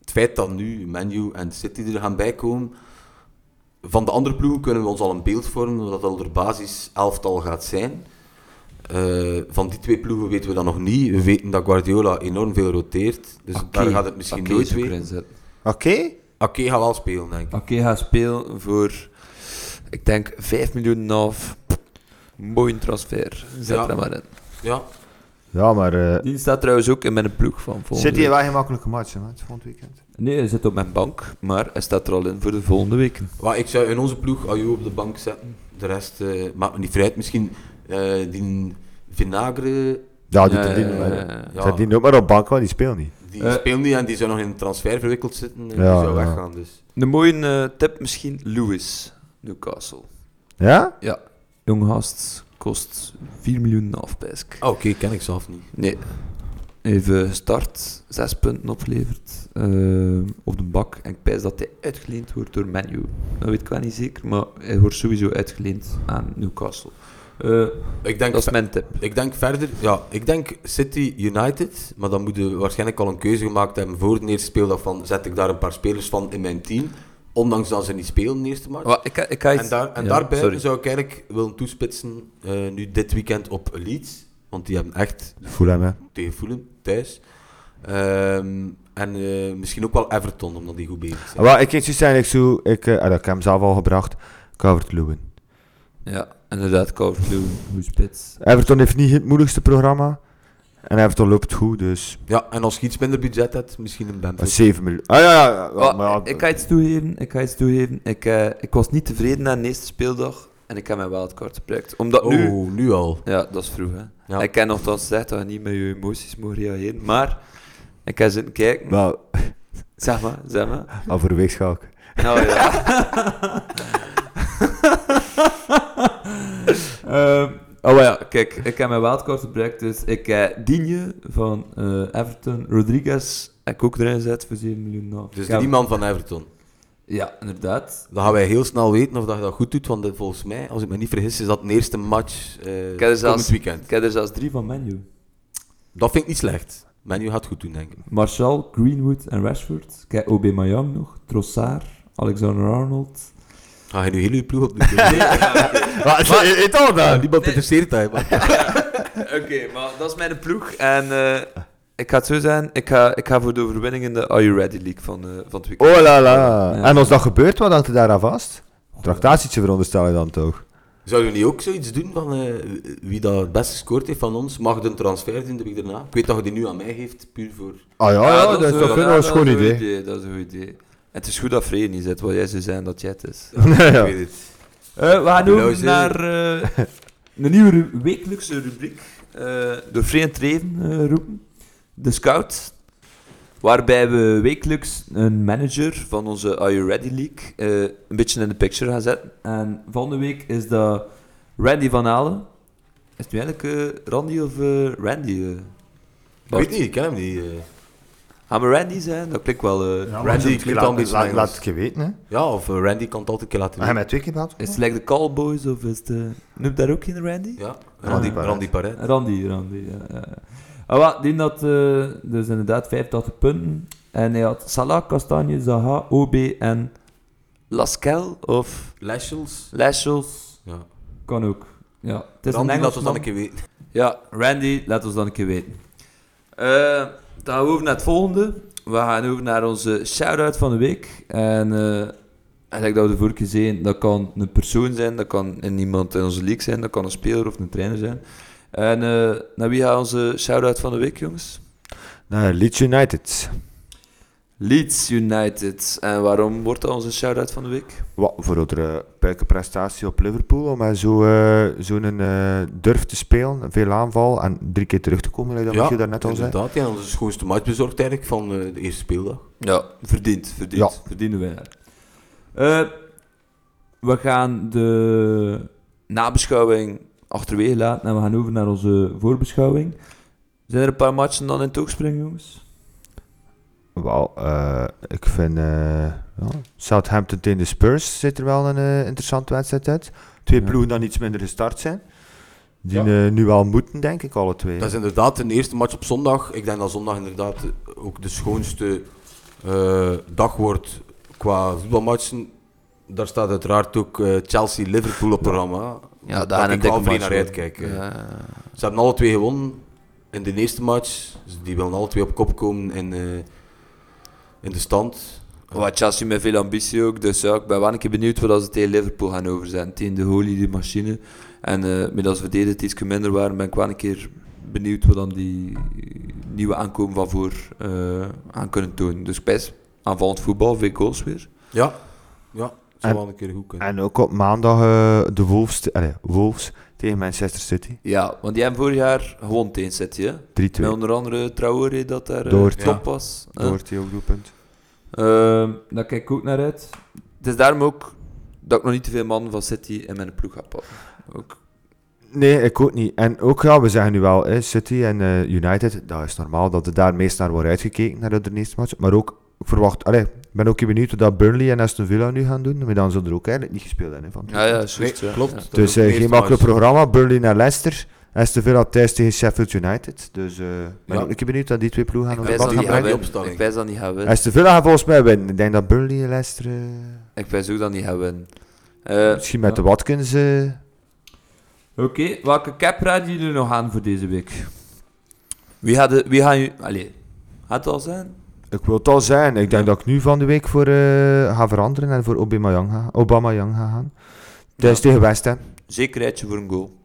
S3: het feit dat nu menu en City er gaan bijkomen. Van de andere ploegen kunnen we ons al een beeld vormen, omdat dat er basis elftal gaat zijn. Eh, van die twee ploegen weten we dat nog niet. We weten dat Guardiola enorm veel roteert, dus
S1: Oké,
S3: daar gaat het misschien
S1: oké,
S3: nooit
S1: zou ik
S3: weer.
S1: erin zetten.
S2: Oké.
S3: Oké, gaat wel spelen, denk ik.
S1: Oké, ga spelen voor... Ik denk 5 miljoen en een half. Mooi transfer. Zet
S3: Ja.
S1: er maar in.
S3: Ja,
S2: Ja, maar... eh
S1: Die staat trouwens ook in mijn ploeg van volgende
S2: City
S1: week.
S2: heeft wel geen makkelijke match, hè, man, het volgend weekend.
S1: Nee, hij zit op mijn bank, maar hij staat er al in voor de volgende weken.
S3: Maar ik zou in onze ploeg Ayew op de bank zetten. De rest eh, maakt me niet vrij uit. Misschien eh, die Vinagre,
S2: Ja, doet
S1: Ja,
S2: er die
S1: ja,
S2: maar.
S1: ja, ja.
S3: ja,
S2: Zet die ook maar op bank, want die speelt niet.
S3: die
S1: Eh.
S3: speelt niet en die zou nog in een transfer verwikkeld zitten. En die
S2: Ja,
S3: zou
S2: ja.
S3: weggaan, dus.
S1: Een mooie eh, tip misschien, Lewis, Newcastle.
S2: Ja?
S1: Ja, jong gast, kost 4 miljoen en een half, pijs ik.
S3: Ah, Oké, ken ik zelf niet.
S1: Nee. Even gestart, 6 punten opgeleverd eh, op de bak. En ik pijs dat hij uitgeleend wordt door Menu. Dat weet ik wel niet zeker, maar hij wordt sowieso uitgeleend aan Newcastle. Eh,
S3: Ik denk,
S1: dat is mijn tip.
S3: ik denk verder, ja, ik denk City United, maar dan moeten we waarschijnlijk al een keuze gemaakt hebben voor de eerste speeldag van zet ik daar een paar spelers van in mijn team, ondanks dat ze niet spelen in de eerste match.
S1: Wa- ik, ga- ik ga iets-
S3: En, daar, en
S1: ja,
S3: daarbij
S1: sorry.
S3: zou ik eigenlijk willen toespitsen eh, nu dit weekend op Leeds, want die hebben echt
S2: Voel hem, hè.
S3: tegen Fulham thuis. Ehm, en eh, misschien ook wel Everton, omdat die goed bezig zijn.
S2: Ah, wel, ik ging juist eigenlijk zo... Ik, eh, ah, dat heb ik hem zelf al gebracht. Ik Calvert-Lewin.
S1: Ja, inderdaad, Calvert-Lewin, goede spits.
S2: Everton heeft niet het moeilijkste programma. En Everton loopt goed, dus...
S3: Ja, en als je iets minder budget hebt, misschien een
S2: Maar
S3: Benfica.
S2: 7 miljoen. Ah ja, ja, ja.
S1: Wel,
S2: maar ja,
S1: Oh, ik ga iets toegeven, ik ga iets toegeven. Ik, eh, ik was niet tevreden na de eerste speeldag en ik heb mijn wildcard gebruikt. Omdat nu...
S3: Oh, nu al.
S1: Ja, dat is vroeg, hè.
S3: Ja.
S1: Ik ken nog dat ze zegt dat je niet met je emoties moet reageren, maar ik ga zitten kijken.
S2: wel,
S1: Zeg maar, zeg maar.
S2: al voor de weegschaak.
S1: Nou
S3: [LAUGHS]
S1: ja. Ehm, oh maar ja, kijk, ik heb mijn wildcard gebruikt, dus ik eh Digne van eh, Everton, Rodriguez heb ik ook erin gezet voor 7 miljoen. af.
S3: Dus
S1: Ik heb-
S3: die man van Everton.
S1: Ja, inderdaad.
S3: Dan gaan wij heel snel weten of dat je dat goed doet, want eh, volgens mij, als ik me niet vergis, is dat een eerste match eh
S1: Ik heb er
S3: komend
S1: zelfs-
S3: weekend.
S1: Ik heb er zelfs drie van Menu.
S3: Dat vind ik niet slecht. Menu gaat goed doen, denk ik.
S1: Martial, Greenwood en Rashford. Kijk, OB Mayang nog, Trossard, Alexander-Arnold.
S3: Ga je nu heel je ploeg [LAUGHS] op de
S2: Wat? Het al
S3: ja,
S2: dan?
S3: Niemand interesseert hij. maar-
S1: Oké, maar dat is mijn ploeg. En eh, ik ga het zo zijn, ik ga, ik ga voor de overwinning in de Are You Ready League van, eh, van het weekend.
S2: Oh la la.
S1: Ja.
S2: En als dat gebeurt, wat hangt er daar aan vast? Tractatietje veronderstel je dan toch?
S3: Zouden we niet ook zoiets doen van eh, wie dat het beste gescoord heeft van ons, mag een transfer doen de week daarna? Ik weet dat je die nu aan mij geeft, puur voor... [LAUGHS]
S2: Ah ja, ja, dat is
S1: wel-
S2: toch wel een schoon
S1: dat is een goed
S2: idee.
S1: idee. Dat is een goed idee. Het is goed dat Freya niet zit, wat jij zou zijn dat jij het is.
S2: Ja.
S3: Ik weet het.
S1: Eh, we gaan
S3: over
S1: over
S3: Belozen.
S1: naar eh,
S3: naar,
S1: een nieuwe wekelijkse rubriek. eh, door Free en Treven roepen. De Scout. Waarbij we wekelijks een manager van onze Are You Ready League eh, een beetje in de picture gaan zetten. En van de week is dat Randy van Halen. Is het nu eigenlijk eh, Randy of eh, Randy? eh?
S3: Ik weet niet, ik ken hem niet. eh.
S1: Gaan we Randy zijn? Dat klinkt wel... eh,
S4: Ja,
S3: Randy
S2: Laat-
S3: klinkt al een beetje
S2: laat-
S3: Engels.
S2: Laat het je weten, hè.
S3: Ja, of eh, Randy kan het altijd een keer laten
S2: Heb
S1: Ah,
S2: je
S3: weten.
S2: mij twee keer gehad?
S1: Is het like de Callboys of is het... eh, noemt daar ook geen Randy?
S3: Ja,
S2: Randy
S3: Randy,
S2: Parrot.
S3: Randy Parrot.
S1: Eh, Randy, Randy, ja. ja, ja. Ah, wel, die had eh, dus inderdaad 85 punten. En hij had Salah, Kastanje, Zaha, OB en Laskel of
S3: Lashels.
S1: Lashels.
S3: Ja.
S1: Kan ook. Ja, het is
S3: Randy
S1: een
S3: laat ons
S1: Engelsman.
S3: dan een keer weten.
S1: Ja, Randy, laat ons dan een keer weten. Eh, dan gaan we over naar het volgende. We gaan over naar onze shout-out van de week. En eh eigenlijk dat we de vorige keer zeiden, dat kan een persoon zijn, dat kan een iemand in onze league zijn, dat kan een speler of een trainer zijn. En eh, naar wie gaat onze shout-out van de week, jongens?
S2: Nou, Leeds United.
S1: Leeds United. En waarom wordt dat onze shout-out van de week?
S2: Wat voor andere prestatie op Liverpool, om maar zo, eh, zo'n eh, durf te spelen, veel aanval en drie keer terug te komen, zoals dat je daarnet al zei.
S3: inderdaad. Ja, onze schoonste match bezorgd eigenlijk van eh, de eerste speeldag.
S1: Ja, verdiend. Verdiend.
S2: Ja.
S1: Verdiende winnaar. Eh, we gaan de nabeschouwing achterwege laten en we gaan over naar onze voorbeschouwing. Zijn er een paar matchen dan in het oog springen, jongens?
S2: Wel, eh, ik vind eh, ja, Southampton tegen de Spurs zit er wel een eh, interessante wedstrijd uit. Twee
S1: Ja.
S2: ploegen dan iets minder gestart zijn. Die
S3: Ja.
S2: eh, nu wel moeten, denk ik, alle twee.
S3: Dat is inderdaad de eerste match op zondag. Ik denk dat zondag inderdaad ook de schoonste eh, dag wordt qua voetbalmatchen. Daar staat uiteraard ook eh, Chelsea-Liverpool op programma.
S1: Ja, daar
S3: daar
S1: een
S3: ik
S1: dikke
S3: wel vrij
S1: match,
S3: naar
S1: hoor.
S3: uitkijk. eh. Ze hebben alle twee gewonnen in de eerste match. Dus die willen alle twee op kop komen in, eh, in de stand.
S1: Wat Chelsea met veel ambitie ook, dus ja, ik ben wel een keer benieuwd wat ze tegen Liverpool gaan overzetten. Tegen de Holy, die machine. En eh met als we deden het iets minder waren, ben ik wel een keer benieuwd wat dan die nieuwe aankomen van voor eh, aan kunnen tonen. Dus best aanvallend voetbal, veel goals weer.
S3: Ja, ja.
S2: En-
S3: Zou wel een keer goed kunnen.
S2: En ook op maandag eh, de Wolves, te- allee, Wolves tegen Manchester City.
S1: Ja, want die hebben vorig jaar gewonnen tegen City, hè?
S2: 3-2.
S1: Met onder andere Traoré dat daar eh,
S2: Doort.
S1: top
S3: Ja.
S1: was. hè.
S3: eh.
S2: Door die ook doelpunt.
S1: Ehm, daar kijk ik ook naar uit. Het is daarom ook dat ik nog niet te veel mannen van City in mijn ploeg ga pakken. Ook.
S2: Nee, ik ook niet. En ook, ja, we zeggen nu wel, eh, City en eh, United, dat is normaal dat er daar meest naar wordt uitgekeken, naar de eerste match. Maar ook, ik verwacht, allee, ik ben ook heel benieuwd hoe dat Burnley en Aston Villa nu gaan doen. Maar dan zullen er ook eigenlijk niet gespeeld hebben. hè, Van.
S1: Ja, ja, juist,
S3: Nee,
S1: ja.
S3: klopt.
S1: Ja.
S3: Dat is
S2: dus
S3: ook
S2: eh,
S3: de
S2: geen
S3: eerste
S2: makkelijk
S3: match.
S2: programma, Burnley naar Leicester. Aston Villa thuis tegen Sheffield United. Dus eh, ik ben
S3: Ja.
S2: ook een keer benieuwd dat die twee ploegen gaan
S1: Ik
S2: op de
S1: wijs
S3: dat
S2: bal
S1: dat
S3: die
S2: gaan
S1: niet
S3: gaan
S1: gaan
S2: brengen.
S3: brengen.
S1: winnen. Ik wijs dat niet gaan winnen.
S2: Aston Villa gaat volgens mij winnen. Ik denk dat Burnley en Leicester... eh,
S1: Ik wijs ook dat niet gaan winnen. Eh,
S2: misschien met
S1: ja.
S2: de Watkins... eh,
S1: Oké, welke cap raden jullie nog aan voor deze week? Wie gaat de, wie gaan jullie... Allee, gaat het al zijn?
S2: Ik wil het al zijn. Ik denk dat ik nu van de week voor eh, ga veranderen en voor Obama Young ga, Obama Young ga gaan. Dat is tegen West Ham.
S1: Zekerheidje voor een goal.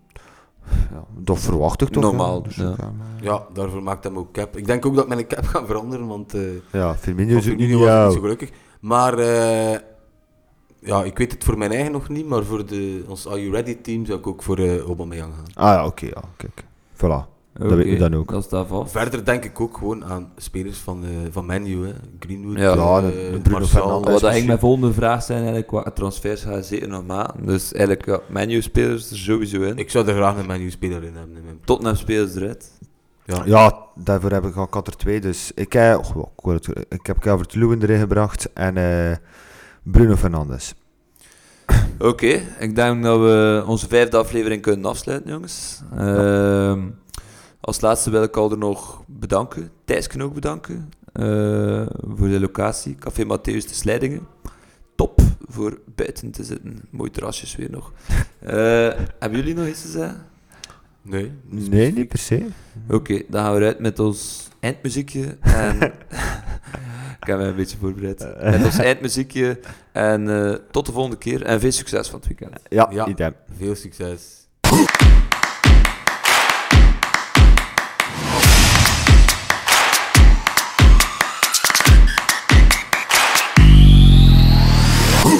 S2: Ja, dat verwacht ik toch. wel.
S1: Normaal,
S2: Dus
S1: ja.
S2: maar-
S3: Ja, daarvoor maakt hem ook cap. Ik denk ook dat ik mijn cap ga veranderen, want eh
S2: Ja, Firmino
S3: op
S2: is ook niet
S3: Firmino was ik niet
S2: jou.
S3: zo gelukkig. Maar eh, ja, ik weet het voor mijn eigen nog niet, maar voor de, ons Are You Ready team zou ik ook voor eh Aubameyang gaan.
S2: Ah ja, oké, ja, kijk. Voilà. Dat weet ik dan ook.
S1: Dat staat vast.
S3: Verder denk ik ook gewoon aan spelers van, eh van Man U, hè. Greenwood,
S1: Ja.
S3: eh,
S2: Ja, de- de Bruno
S3: Martial.
S2: Fernandes.
S1: Oh, Wat dat ging
S2: misschien-
S1: mijn volgende vraag zijn, eigenlijk, qua transfers ga je zeker nog maken. Dus eigenlijk, ja, menu spelers er sowieso in.
S3: Ik zou er graag een Man U-speler in hebben. In mijn...
S1: Tottenham spelers eruit.
S3: ja.
S2: Ja, daarvoor heb ik al kat er twee. Dus ik heb, oh, ik, hoor het- ik heb Calvert Lewin erin gebracht en eh, Bruno Fernandes.
S1: Oké, ik denk dat we onze vijfde aflevering kunnen afsluiten, jongens. Ehm, als laatste wil ik Alder nog bedanken. Thijs kan ook bedanken eh, voor de locatie. Café Matthäus de Slijdingen. Top voor buiten te zitten. Mooi terrasjes weer nog. Eh, [LAUGHS] hebben jullie nog iets te zeggen?
S3: Nee.
S2: Nee, niet per se.
S1: Oké, dan gaan we eruit met ons eindmuziekje. En [LAUGHS] ik heb mij een beetje voorbereid. Met ons eindmuziekje. En eh, tot de volgende keer. En veel succes van het weekend.
S2: Ja,
S3: Ja.
S2: idem.
S3: Veel succes.